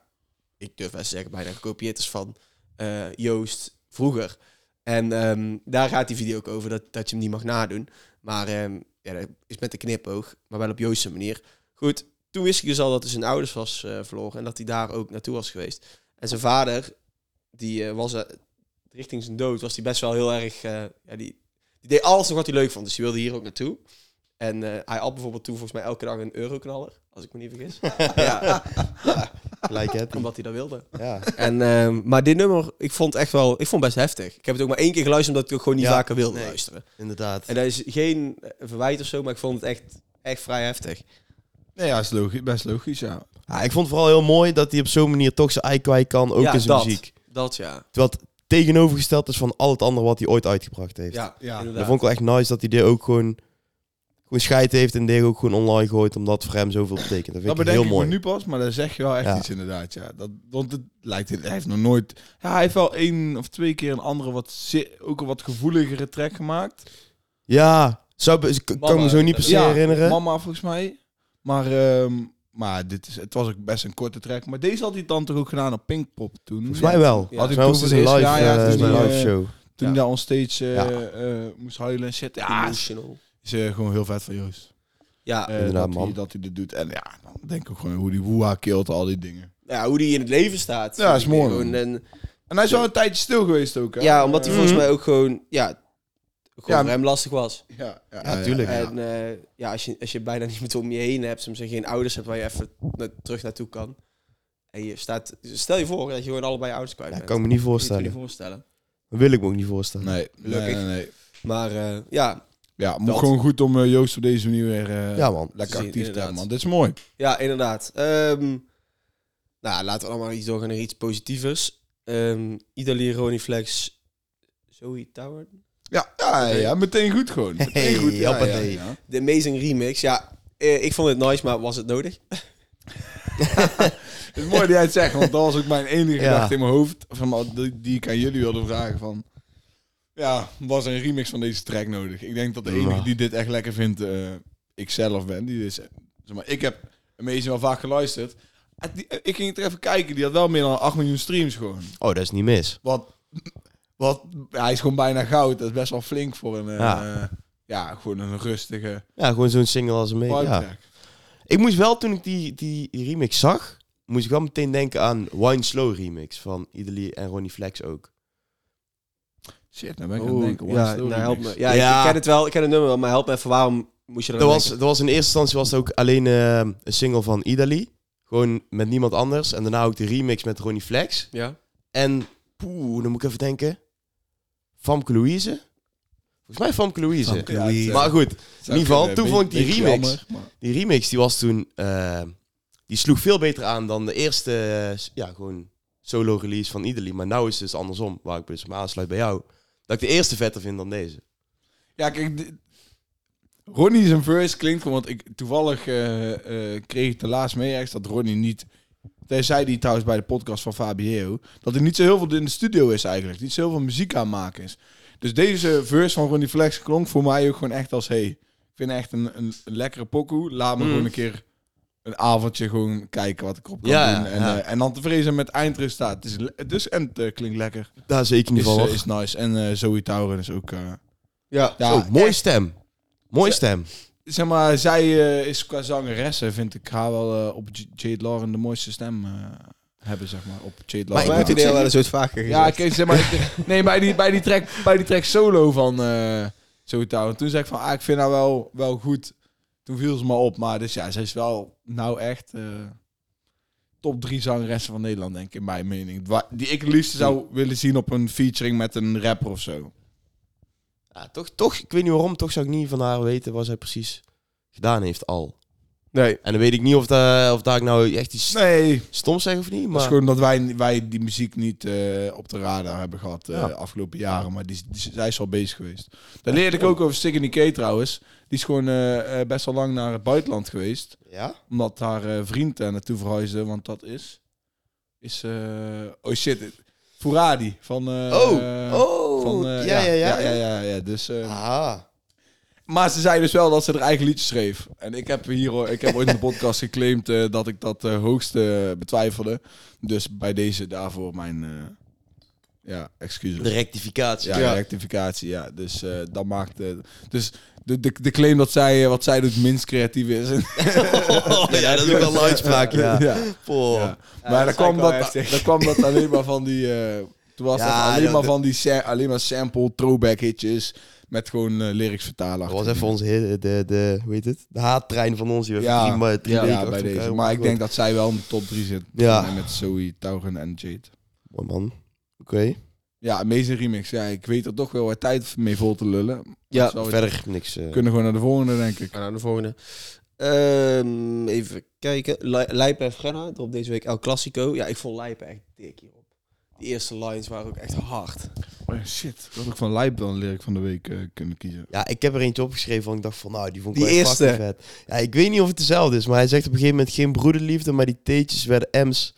[SPEAKER 2] ik durf best te zeggen, bijna gekopieerd is van eh, Joost vroeger. En ehm, daar gaat die video ook over, dat, dat je hem niet mag nadoen. Maar ehm, ja, dat is met de knipoog, maar wel op Joost's manier. Goed, toen wist ik dus al dat hij zijn ouders was eh, verloren en dat hij daar ook naartoe was geweest. En zijn vader, die eh, was eh, richting zijn dood, was hij best wel heel erg... eh, ja, die, die deed alles nog wat hij leuk vond, dus die wilde hier ook naartoe. En eh, hij had bijvoorbeeld toen volgens mij elke dag een euroknaller, als ik me niet vergis. ja,
[SPEAKER 3] Gelijk happy.
[SPEAKER 2] omdat hij dat wilde.
[SPEAKER 3] Ja.
[SPEAKER 2] En, ehm, maar dit nummer, ik vond echt wel, ik vond best heftig. Ik heb het ook maar één keer geluisterd omdat ik het gewoon niet
[SPEAKER 3] Ja,
[SPEAKER 2] vaker wilde
[SPEAKER 3] nee.
[SPEAKER 2] luisteren.
[SPEAKER 3] Inderdaad.
[SPEAKER 2] En dat is geen eh, verwijt of zo, maar ik vond het echt, echt vrij heftig.
[SPEAKER 1] Nee, ja, is logisch, best logisch, ja.
[SPEAKER 3] Ja, ik vond het vooral heel mooi dat hij op zo'n manier toch zijn ei kwijt kan, ook
[SPEAKER 2] ja,
[SPEAKER 3] in zijn
[SPEAKER 2] dat,
[SPEAKER 3] muziek.
[SPEAKER 2] Dat ja.
[SPEAKER 3] Terwijl het tegenovergesteld is van al het andere wat hij ooit uitgebracht heeft.
[SPEAKER 2] Ja,
[SPEAKER 1] Ja.
[SPEAKER 2] inderdaad.
[SPEAKER 3] Dat vond ik wel echt nice dat hij dit ook gewoon, gewoon scheid heeft en dit ook gewoon online gooit, omdat het voor hem zoveel betekent. Dat
[SPEAKER 1] Dat
[SPEAKER 3] vind ik heel
[SPEAKER 1] bedenk ik me
[SPEAKER 3] mooi.
[SPEAKER 1] nu pas, maar daar zeg je wel echt
[SPEAKER 3] Ja.
[SPEAKER 1] iets inderdaad. Ja. Dat, want het lijkt, hij heeft nog nooit... Ja, hij heeft wel één of twee keer een andere, wat, zi- ook een wat gevoeligere track gemaakt.
[SPEAKER 3] Ja, zou, be- ik kan
[SPEAKER 2] Mama,
[SPEAKER 3] me zo niet per se
[SPEAKER 1] eh, ja,
[SPEAKER 3] herinneren.
[SPEAKER 1] Mama volgens mij. Maar, ehm, maar dit is, het was ook best een korte track. Maar deze had hij dan toch ook gedaan op Pinkpop toen?
[SPEAKER 3] Volgens mij wel.
[SPEAKER 1] Had ik
[SPEAKER 3] Volgens mij was
[SPEAKER 1] toen
[SPEAKER 3] het
[SPEAKER 1] voor het
[SPEAKER 3] een live,
[SPEAKER 1] eerst- ja, ja,
[SPEAKER 3] eh,
[SPEAKER 1] toen
[SPEAKER 3] een
[SPEAKER 1] die,
[SPEAKER 3] live
[SPEAKER 1] eh,
[SPEAKER 3] show.
[SPEAKER 1] Toen hij
[SPEAKER 2] Ja.
[SPEAKER 1] daar onstage eh,
[SPEAKER 3] Ja.
[SPEAKER 1] eh, moest huilen en shit. Ja, is,
[SPEAKER 2] Emotional.
[SPEAKER 1] is, eh, gewoon heel vet van Joost.
[SPEAKER 2] Ja.
[SPEAKER 1] Eh,
[SPEAKER 3] Inderdaad,
[SPEAKER 1] dat, hij,
[SPEAKER 3] man.
[SPEAKER 1] dat hij dit doet. En ja, dan denk ik ook gewoon hoe die woeha keelt al die dingen.
[SPEAKER 2] ja, hoe die in het leven staat.
[SPEAKER 1] Ja, is mooi,
[SPEAKER 2] Gewoon
[SPEAKER 1] man.
[SPEAKER 2] een-
[SPEAKER 1] En hij is wel een tijdje stil geweest ook. Hè?
[SPEAKER 2] ja, omdat hij
[SPEAKER 1] Eh,
[SPEAKER 2] volgens mij ook gewoon, ja, gewoon
[SPEAKER 1] Ja,
[SPEAKER 2] voor hem lastig was.
[SPEAKER 1] Ja, ja,
[SPEAKER 3] Ja, tuurlijk.
[SPEAKER 1] ja.
[SPEAKER 2] En eh, ja, als je, als je bijna *laughs* niemand om je heen hebt, soms geen ouders hebt waar je even na- terug naartoe kan. En je staat, stel je voor dat je gewoon allebei je ouders kwijt
[SPEAKER 3] Ja,
[SPEAKER 2] bent.
[SPEAKER 3] kan ik me niet
[SPEAKER 2] Kan je het
[SPEAKER 3] voorstellen.
[SPEAKER 2] niet voorstellen.
[SPEAKER 3] Dat wil ik me ook niet voorstellen.
[SPEAKER 1] Nee, gelukkig. Nee,
[SPEAKER 2] Gelukkig.
[SPEAKER 1] nee.
[SPEAKER 2] Maar eh, ja,
[SPEAKER 1] Ja, moet
[SPEAKER 2] Dat.
[SPEAKER 1] gewoon goed om eh, Joost op deze manier weer eh,
[SPEAKER 3] Ja, man.
[SPEAKER 1] lekker
[SPEAKER 2] te zien,
[SPEAKER 1] actief te hebben,
[SPEAKER 2] inderdaad.
[SPEAKER 1] man. Dit is mooi.
[SPEAKER 2] ja, inderdaad. Ehm, nou, laten we allemaal iets doorgaan naar iets positievers. Ehm Idalier, Roniflex, Zoe Tower.
[SPEAKER 1] Ja, ja, ja, ja, meteen goed
[SPEAKER 2] *laughs*
[SPEAKER 1] gewoon. Meteen
[SPEAKER 3] Hey,
[SPEAKER 1] goed. Ja, ja,
[SPEAKER 3] hoppatee.
[SPEAKER 1] ja.
[SPEAKER 2] De Amazing Remix. Ja, eh, ik vond het nice, maar was het nodig?
[SPEAKER 1] Het is mooi dat jij het zegt, want dat was ook mijn enige
[SPEAKER 3] Ja.
[SPEAKER 1] gedachte in mijn hoofd. Van, maar die, die ik aan jullie wilde vragen van... Ja, was er een remix van deze track nodig? Ik denk dat de enige
[SPEAKER 3] Ja.
[SPEAKER 1] die dit echt lekker vindt, eh ik zelf ben. Die is, eh, zeg maar, ik heb Amazing wel vaak geluisterd. En die- eh, ik ging het er even kijken, die had wel meer dan 8 miljoen streams gewoon.
[SPEAKER 3] Oh, dat is niet mis.
[SPEAKER 1] Wat, wat, hij is gewoon bijna goud. Dat is best wel flink voor een, eh,
[SPEAKER 3] Ja.
[SPEAKER 1] ja. gewoon een rustige
[SPEAKER 3] Ja, gewoon zo'n single als een mee.
[SPEAKER 1] vibe
[SPEAKER 3] Ja.
[SPEAKER 1] track.
[SPEAKER 3] Ik moest wel, toen ik die, die remix zag, moest ik wel meteen denken aan Wine Slow remix van Idali en Ronnie Flex ook.
[SPEAKER 1] Oh, Shit, nou ben ik aan
[SPEAKER 2] Oeh,
[SPEAKER 1] het denken. One
[SPEAKER 2] ja,
[SPEAKER 1] Slow
[SPEAKER 2] nou, help
[SPEAKER 1] Remix.
[SPEAKER 2] me. Ja, ik-
[SPEAKER 3] Ja.
[SPEAKER 2] Ik, ken het wel, ik ken het nummer wel, maar help me even, waarom moest je er
[SPEAKER 3] Dat
[SPEAKER 2] aan
[SPEAKER 3] was,
[SPEAKER 2] denken?
[SPEAKER 3] dat was in eerste instantie was het ook alleen eh, een single van Idali. Gewoon met niemand anders. En daarna ook de remix met Ronnie Flex.
[SPEAKER 2] Ja?
[SPEAKER 3] En, poeh, dan moet ik even denken. Famke Louise? Volgens mij Famke Louise.
[SPEAKER 1] Famke
[SPEAKER 3] Ja,
[SPEAKER 1] Louise.
[SPEAKER 3] het, eh, maar goed,
[SPEAKER 1] Zou
[SPEAKER 3] in ieder geval,
[SPEAKER 1] kunnen.
[SPEAKER 3] toen
[SPEAKER 1] Be-
[SPEAKER 3] vond ik die
[SPEAKER 1] eh, beetje
[SPEAKER 3] remix.
[SPEAKER 1] jammer, maar-
[SPEAKER 3] die remix die was toen... eh, die sloeg veel beter aan dan de eerste eh, s- ja, gewoon solo release van Idali. Maar nou is het dus andersom, waar ik dus me aansluit bij jou. Dat ik de eerste vetter vind dan deze.
[SPEAKER 1] Ja, kijk, d- Ronnie zijn verse klinkt gewoon, want ik toevallig eh, eh, kreeg ik de laatst mee ergens dat Ronnie niet, hij zei die trouwens bij de podcast van Fabio, dat hij niet zo heel veel in de studio is eigenlijk, niet zo heel veel muziek aan het maken is. Dus deze verse van Ronnie Flex klonk voor mij ook gewoon echt als, hey, ik vind echt een, een, een lekkere pokoe, laat me
[SPEAKER 2] Mm.
[SPEAKER 1] gewoon een keer een avondje gewoon kijken wat ik op kan
[SPEAKER 2] Ja,
[SPEAKER 1] doen. En,
[SPEAKER 2] ja.
[SPEAKER 1] eh, en dan tevreden zijn met eindresultaat. Het is, le- het is en het eh, klinkt lekker.
[SPEAKER 3] Daar zeker niet
[SPEAKER 1] Is,
[SPEAKER 3] van.
[SPEAKER 1] eh,
[SPEAKER 3] hoor.
[SPEAKER 1] is nice. En eh Zoe Tauren is ook... eh,
[SPEAKER 2] Ja.
[SPEAKER 1] ja,
[SPEAKER 3] Zo, mooie
[SPEAKER 1] echt-
[SPEAKER 3] stem. Mooie stem.
[SPEAKER 1] zeg maar, zij eh, is qua zangeresse, vind ik haar wel eh, op J- Jade Lauren de mooiste stem eh, hebben, zeg maar. Op Jade Lauren.
[SPEAKER 2] Maar ik
[SPEAKER 1] Ja.
[SPEAKER 2] moet die
[SPEAKER 3] zeggen-
[SPEAKER 2] deel wel eens ooit vaker gezien.
[SPEAKER 1] ja, ik zeg maar,
[SPEAKER 2] *laughs*
[SPEAKER 1] ik- nee, bij die, bij, die track, bij die track solo van eh Zoe Tauren. Toen zei ik van, ah, ik vind haar wel, wel goed. Toen viel ze me op. Maar dus ja, ze is wel nou echt eh, top drie zangeressen van Nederland, denk ik, in mijn mening. Wa- Die ik het liefst zou willen zien op een featuring met een rapper of zo.
[SPEAKER 3] Ja, toch, toch, ik weet niet waarom, toch zou ik niet van haar weten wat zij precies gedaan heeft al.
[SPEAKER 2] Nee.
[SPEAKER 3] En dan weet ik niet of, daar of daar ik nou echt iets
[SPEAKER 1] Nee,
[SPEAKER 3] stoms zeg of niet,
[SPEAKER 1] Dat is
[SPEAKER 3] maar...
[SPEAKER 1] gewoon dat wij, wij die muziek niet eh, op de radar hebben gehad eh,
[SPEAKER 3] Ja.
[SPEAKER 1] de afgelopen jaren. Maar die, die- zij is al bezig geweest. Daar leerde ik ook over Sticky K trouwens. Die is gewoon eh, eh, best wel lang naar het buitenland geweest.
[SPEAKER 3] Ja?
[SPEAKER 1] Omdat haar eh, vriend daar naartoe verhuisde. Want dat is... Is... eh, oh shit. Furadi van... eh,
[SPEAKER 3] Oh!
[SPEAKER 1] eh,
[SPEAKER 3] Oh!
[SPEAKER 1] Van, eh,
[SPEAKER 3] ja, ja,
[SPEAKER 1] ja,
[SPEAKER 3] ja.
[SPEAKER 1] ja, ja, ja. Dus, eh,
[SPEAKER 3] Ah.
[SPEAKER 1] maar ze zei dus wel dat ze haar eigen liedjes schreef. En ik heb hier o- ik heb ooit in de
[SPEAKER 3] *laughs*
[SPEAKER 1] podcast geclaimd eh, dat ik dat eh, hoogste eh, betwijfelde. Dus bij deze daarvoor mijn eh, ja,
[SPEAKER 3] De
[SPEAKER 1] excuses.
[SPEAKER 3] rectificatie.
[SPEAKER 1] Ja,
[SPEAKER 2] Ja.
[SPEAKER 1] rectificatie. Ja, dus eh, dat maakt. eh, dus de, de, de claim dat zij eh, wat zij doet minst creatief is.
[SPEAKER 3] Oh, ja, dat is ook
[SPEAKER 1] *laughs*
[SPEAKER 3] wel een uitspraak, ja. Poh.
[SPEAKER 1] Ja.
[SPEAKER 2] Ja,
[SPEAKER 1] maar
[SPEAKER 2] dat
[SPEAKER 1] dan
[SPEAKER 2] is
[SPEAKER 1] kwam
[SPEAKER 2] eigenlijk wel
[SPEAKER 1] dat,
[SPEAKER 2] heftig.
[SPEAKER 1] dan kwam dat alleen maar van die. eh, toen was
[SPEAKER 2] Ja,
[SPEAKER 1] dat alleen
[SPEAKER 2] dat-
[SPEAKER 1] maar van die sa- alleen maar sample throwback hitjes. Met gewoon eh lyrics vertalen.
[SPEAKER 3] Dat was even onze, hele- de, de, hoe heet het? De haattrein van ons, die we ja. drie, ma- drie
[SPEAKER 1] ja,
[SPEAKER 3] weken
[SPEAKER 1] ja, bij
[SPEAKER 3] achter
[SPEAKER 1] deze.
[SPEAKER 3] elkaar
[SPEAKER 1] Maar ik
[SPEAKER 3] hebben
[SPEAKER 1] denk dat zij wel in de top 3 zit.
[SPEAKER 3] Ja.
[SPEAKER 1] Met Zoe, Tauren en Jade.
[SPEAKER 3] gehoord. Mooi man. Oké.
[SPEAKER 1] Ja, Amazing Remix. Ja, ik weet er toch wel wat tijd mee vol te lullen. Maar
[SPEAKER 2] Ja,
[SPEAKER 1] zou het-
[SPEAKER 3] Verder niks. eh.
[SPEAKER 1] We kunnen gewoon naar de volgende, denk ik.
[SPEAKER 2] We gaan naar de volgende. Ehm, even kijken. Li- Lijpen heeft Grenna. Erop deze week El Clasico. Ja, ik vond Lijpen echt dik hierop. De eerste lines waren ook echt hard.
[SPEAKER 1] Oh, shit. Dat ik van Lijp dan leer ik van de week eh, kunnen kiezen.
[SPEAKER 3] Ja, ik heb er eentje opgeschreven van ik dacht van, nou, die vond ik
[SPEAKER 2] Die
[SPEAKER 3] wel echt
[SPEAKER 2] eerste.
[SPEAKER 3] fucking vet. Ja, ik weet niet of het dezelfde is, maar hij zegt op een gegeven moment geen broederliefde, maar die teetjes werden M's.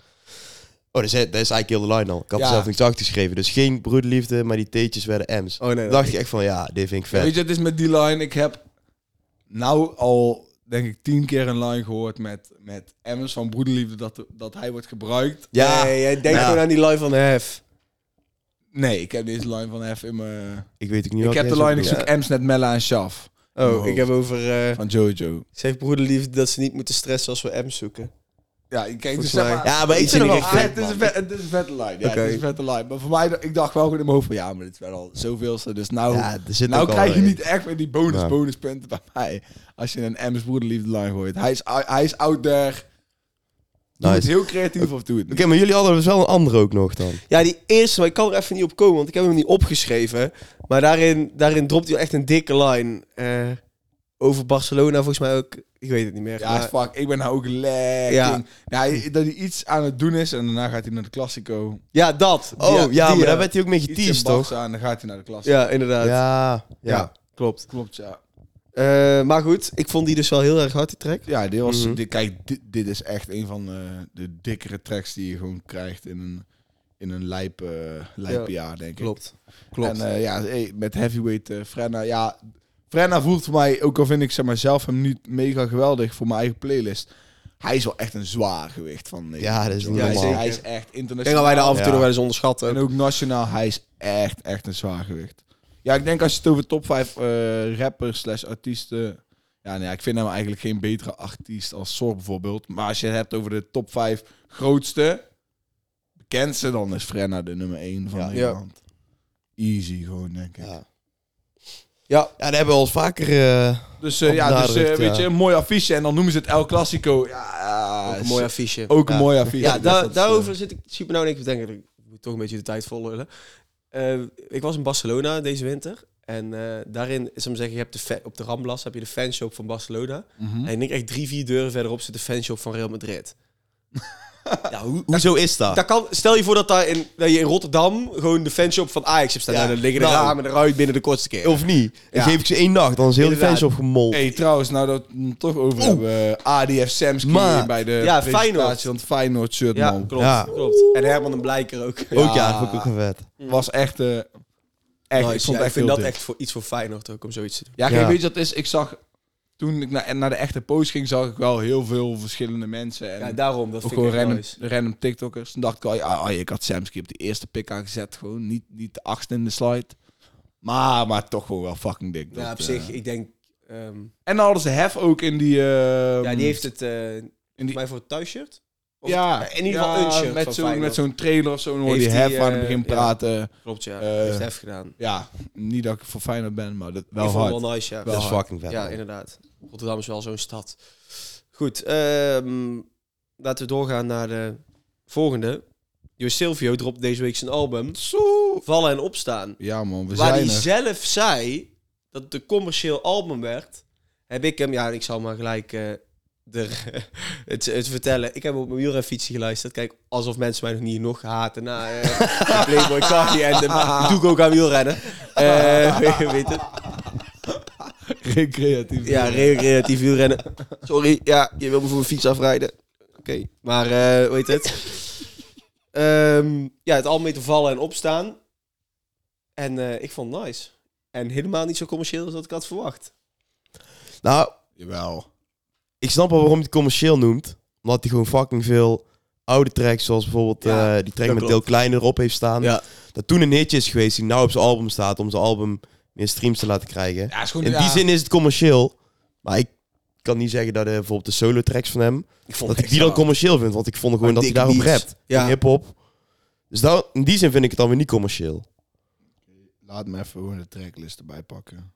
[SPEAKER 3] Oh, dat is, dat is eigenlijk heel de line al. Ik had
[SPEAKER 1] Ja.
[SPEAKER 3] er zelf niks achtergeschreven. Dus geen broederliefde, maar die teetjes werden M's.
[SPEAKER 2] Oh nee.
[SPEAKER 3] Dan dacht ik echt van, ja, dit vind ik vet.
[SPEAKER 1] Weet je, het is met die line. Ik heb nou al, denk ik, tien keer een line gehoord met, met Emmers van Broederliefde. Dat, dat hij wordt gebruikt.
[SPEAKER 3] ja,
[SPEAKER 2] Nee, jij denkt
[SPEAKER 3] Ja.
[SPEAKER 2] gewoon aan die live van Hef.
[SPEAKER 1] Nee, ik heb deze line van F in mijn...
[SPEAKER 3] ik weet ook niet
[SPEAKER 1] Ik
[SPEAKER 3] welke
[SPEAKER 1] heb de
[SPEAKER 3] jij
[SPEAKER 1] line, ik
[SPEAKER 3] zegt.
[SPEAKER 1] zoek Ems net Mella en Shaf.
[SPEAKER 2] Oh,
[SPEAKER 1] Oh.
[SPEAKER 2] ik heb over... eh,
[SPEAKER 1] Van Jojo.
[SPEAKER 2] ze heeft broederliefde dat ze niet moeten stressen als we M zoeken.
[SPEAKER 1] Ja, ik kijk, dus
[SPEAKER 2] Volgens
[SPEAKER 1] zeg
[SPEAKER 2] mij.
[SPEAKER 1] maar,
[SPEAKER 3] Ja, maar ik
[SPEAKER 1] Ik vind
[SPEAKER 3] vind
[SPEAKER 1] het
[SPEAKER 3] hem
[SPEAKER 1] wel
[SPEAKER 3] echt
[SPEAKER 1] ah,
[SPEAKER 3] vet,
[SPEAKER 1] het, is een
[SPEAKER 3] man.
[SPEAKER 1] vet, het is een vette line. Ja,
[SPEAKER 2] Oké.
[SPEAKER 1] het is een vette line. Maar voor mij, ik dacht wel goed in mijn hoofd van ja, maar dit is wel al zoveelste. Dus nou,
[SPEAKER 3] Ja, er zit
[SPEAKER 1] nou
[SPEAKER 3] ook al
[SPEAKER 1] krijg je
[SPEAKER 3] in.
[SPEAKER 1] niet echt meer die bonus,
[SPEAKER 3] Ja.
[SPEAKER 1] bonuspunten bij mij. Als je een M's broederliefde line gooit. Hij is, hij is out there. Doe het
[SPEAKER 3] Nice.
[SPEAKER 1] heel creatief of doe het
[SPEAKER 3] Oké,
[SPEAKER 1] niet.
[SPEAKER 3] maar jullie hadden dus wel een andere ook nog dan.
[SPEAKER 2] Ja, die eerste, maar ik kan er even niet op komen, want ik heb hem niet opgeschreven. Maar daarin, daarin dropt hij echt een dikke line. eh, over Barcelona volgens mij ook. Ik weet het niet meer.
[SPEAKER 1] Ja,
[SPEAKER 2] maar-
[SPEAKER 1] fuck, ik ben nou ook lekker.
[SPEAKER 2] Ja.
[SPEAKER 1] Ja, hij- dat hij iets aan het doen is en daarna gaat hij naar de Classico.
[SPEAKER 2] ja dat.
[SPEAKER 3] Oh, ja,
[SPEAKER 2] Die, eh,
[SPEAKER 3] maar daar werd hij ook mee
[SPEAKER 1] Iets in
[SPEAKER 3] geteased, toch?
[SPEAKER 1] Barca en dan gaat hij naar de Classico.
[SPEAKER 2] Ja, inderdaad.
[SPEAKER 3] Ja,
[SPEAKER 2] Ja,
[SPEAKER 3] ja.
[SPEAKER 2] klopt.
[SPEAKER 1] Klopt, ja.
[SPEAKER 2] Eh, maar goed, ik vond die dus wel heel erg hard, die track.
[SPEAKER 1] Ja, dit was,
[SPEAKER 3] Mhm.
[SPEAKER 1] dit, kijk, dit, dit is echt een van eh, de dikkere tracks die je gewoon krijgt in een, in een lijp, eh, lijpjaar, denk ik.
[SPEAKER 2] Klopt.
[SPEAKER 1] En eh, ja, hey, met heavyweight eh, Frenna, ja, Frenna voelt voor mij, ook al vind ik zeg maar, zelf hem niet mega geweldig voor mijn eigen playlist, hij is wel echt een zwaar gewicht van Nederland.
[SPEAKER 3] Ja, dat is niet
[SPEAKER 1] hij, is,
[SPEAKER 3] normaal.
[SPEAKER 1] hij is echt
[SPEAKER 2] Ik denk dat wij daar
[SPEAKER 1] internationaal
[SPEAKER 2] af en toe
[SPEAKER 3] Ja.
[SPEAKER 2] nog wel eens onderschatten.
[SPEAKER 1] en ook nationaal, hij is echt, echt een zwaar gewicht. Ja, ik denk als je het over top 5 eh, rappers slash artiesten... Ja, nee, ik vind hem eigenlijk geen betere artiest als Sor bijvoorbeeld. Maar als je het hebt over de top 5 grootste, bekendste, dan is Frenna de nummer 1 van
[SPEAKER 3] Ja.
[SPEAKER 1] Nederland. Easy gewoon, denk ik.
[SPEAKER 3] Ja.
[SPEAKER 2] Ja.
[SPEAKER 3] Ja, daar hebben we al vaker... eh,
[SPEAKER 1] Dus eh,
[SPEAKER 3] Op
[SPEAKER 1] ja, dus, eh,
[SPEAKER 3] nadruk,
[SPEAKER 1] weet
[SPEAKER 3] ja.
[SPEAKER 1] je, een mooi affiche. En dan noemen ze het El Clasico. Ja,
[SPEAKER 2] Ook een
[SPEAKER 1] is-
[SPEAKER 2] mooi affiche.
[SPEAKER 1] ook
[SPEAKER 3] Ja.
[SPEAKER 1] een mooi affiche.
[SPEAKER 2] Ja,
[SPEAKER 1] Dus
[SPEAKER 2] daar-
[SPEAKER 1] dat is,
[SPEAKER 2] daarover
[SPEAKER 1] eh,
[SPEAKER 2] zit ik super nou en ik denk, ik moet toch een beetje de tijd volhullen. Eh ik was in Barcelona deze winter. En eh, daarin, zal ik zeggen, je hebt de fa- op de Ramblas heb je de fanshop van Barcelona.
[SPEAKER 1] mhm.
[SPEAKER 2] En ik denk echt drie, vier deuren verderop zit de fanshop van Real Madrid.
[SPEAKER 3] Ja, hoe, hoezo is dat?
[SPEAKER 2] Dat kan, stel je voor dat, daar in, dat je in Rotterdam gewoon de fanshop van Ajax hebt staan.
[SPEAKER 3] Ja.
[SPEAKER 2] Nou, dan liggen de
[SPEAKER 3] Nou.
[SPEAKER 2] ramen eruit binnen de kortste keer.
[SPEAKER 3] Of niet? Dan
[SPEAKER 2] Ja.
[SPEAKER 3] geef ik ze één nacht, dan is heel de
[SPEAKER 2] Inderdaad.
[SPEAKER 3] fans opgemold.
[SPEAKER 1] Hey, trouwens, nou dat we het toch over hebben. eh, ADF Samski
[SPEAKER 3] Maar-
[SPEAKER 1] bij de
[SPEAKER 2] ja,
[SPEAKER 1] presentatie
[SPEAKER 2] Feyenoord.
[SPEAKER 1] van het Feyenoord shirt, man.
[SPEAKER 2] klopt,
[SPEAKER 3] Ja. Oh,
[SPEAKER 2] klopt. En Herman en Blijker ook.
[SPEAKER 3] Ook ja,
[SPEAKER 1] Ja.
[SPEAKER 3] dat vond ik ook wel vet.
[SPEAKER 1] Was echt... eh, echt
[SPEAKER 2] Nice.
[SPEAKER 1] ik vond
[SPEAKER 2] Ja,
[SPEAKER 1] echt
[SPEAKER 2] vind
[SPEAKER 1] heel dik.
[SPEAKER 2] dat echt voor, iets voor Feyenoord ook, om zoiets te doen.
[SPEAKER 1] Ja, kijk,
[SPEAKER 3] Ja.
[SPEAKER 1] weet je wat het is? Ik zag... Toen ik naar, naar de echte post ging, zag ik wel heel veel verschillende mensen. En
[SPEAKER 2] Ja, daarom. Dat
[SPEAKER 1] ook
[SPEAKER 2] vind
[SPEAKER 1] gewoon
[SPEAKER 2] ik echt
[SPEAKER 1] random,
[SPEAKER 2] nice.
[SPEAKER 1] random TikTokkers. Toen dacht ik al, ja, oh, ik had Samski op de eerste pick aangezet. Gewoon niet, niet de achtste in de slide. Maar, maar toch gewoon wel fucking dik.
[SPEAKER 2] Ja,
[SPEAKER 1] dat,
[SPEAKER 2] op
[SPEAKER 1] eh.
[SPEAKER 2] zich, ik denk... ehm,
[SPEAKER 1] En dan hadden ze Hef ook in die... eh,
[SPEAKER 2] ja, die heeft het eh
[SPEAKER 1] in die,
[SPEAKER 2] mij voor het thuisshirt. Of-
[SPEAKER 1] ja,
[SPEAKER 2] in ieder geval
[SPEAKER 1] ja,
[SPEAKER 2] een shirt
[SPEAKER 1] met
[SPEAKER 2] van
[SPEAKER 1] zo'n
[SPEAKER 2] Feyenoord.
[SPEAKER 1] met zo'n trailer of zo. Dan hoor je
[SPEAKER 2] Heeft
[SPEAKER 1] die
[SPEAKER 2] die,
[SPEAKER 1] Hef aan het
[SPEAKER 2] eh,
[SPEAKER 1] begin
[SPEAKER 2] ja.
[SPEAKER 1] praten.
[SPEAKER 2] Klopt, ja.
[SPEAKER 1] Eh,
[SPEAKER 2] heeft Hef gedaan.
[SPEAKER 1] Ja, niet dat ik voor Feyenoord ben, maar dat wel
[SPEAKER 2] ik vond
[SPEAKER 1] hard.
[SPEAKER 2] het wel nice, ja.
[SPEAKER 1] Wel
[SPEAKER 3] Dat is
[SPEAKER 1] hard.
[SPEAKER 3] fucking vet.
[SPEAKER 2] Ja,
[SPEAKER 3] man.
[SPEAKER 2] inderdaad. Rotterdam is wel zo'n stad. Goed, ehm, laten we doorgaan naar de volgende. Jo Silvio dropt deze week zijn album
[SPEAKER 1] Zo.
[SPEAKER 2] Vallen en Opstaan.
[SPEAKER 1] Ja man, we
[SPEAKER 2] waar
[SPEAKER 1] zijn
[SPEAKER 2] hij
[SPEAKER 1] er.
[SPEAKER 2] zelf zei dat het een commercieel album werd, heb ik hem, ja, ik zal maar gelijk eh, er, *laughs* het, het vertellen. Ik heb op mijn wielrenfietsje geluisterd. Kijk, alsof mensen mij nog niet nog haten na eh, *laughs* de Playboy Cardi en de, die doe ik ook aan wielrennen. Eh, *laughs* weet het?
[SPEAKER 1] *laughs* Recreatief.
[SPEAKER 2] Ja, recreatief wielrennen. Sorry, ja, je wil me voor mijn fiets afrijden. Oké, maar eh, hoe heet het? Ehm, ja, het al mee te vallen en opstaan. En eh, ik vond het nice. En helemaal niet zo commercieel als dat ik had verwacht.
[SPEAKER 3] Nou,
[SPEAKER 1] Jawel.
[SPEAKER 3] ik snap wel waarom hij het commercieel noemt. Omdat hij gewoon fucking veel oude tracks, zoals bijvoorbeeld
[SPEAKER 2] Ja,
[SPEAKER 3] eh, die track
[SPEAKER 2] dat
[SPEAKER 3] met
[SPEAKER 2] klopt.
[SPEAKER 3] Deel Kleine erop heeft staan.
[SPEAKER 2] Ja.
[SPEAKER 3] Dat toen een hitje is geweest, die nou op zijn album staat, om zijn album meer streams te laten krijgen.
[SPEAKER 1] Ja, is gewoon...
[SPEAKER 3] In
[SPEAKER 1] ja.
[SPEAKER 3] die zin is het commercieel. Maar ik kan niet zeggen dat eh, bijvoorbeeld de solo tracks van hem,
[SPEAKER 2] Ik
[SPEAKER 3] dat ik die dan commercieel vind. Want ik vond gewoon dat hij daarop rapt.
[SPEAKER 2] Ja.
[SPEAKER 3] In hip-hop. Dus daar, in die zin vind ik het dan weer niet commercieel.
[SPEAKER 1] Laat me even gewoon de tracklist erbij pakken.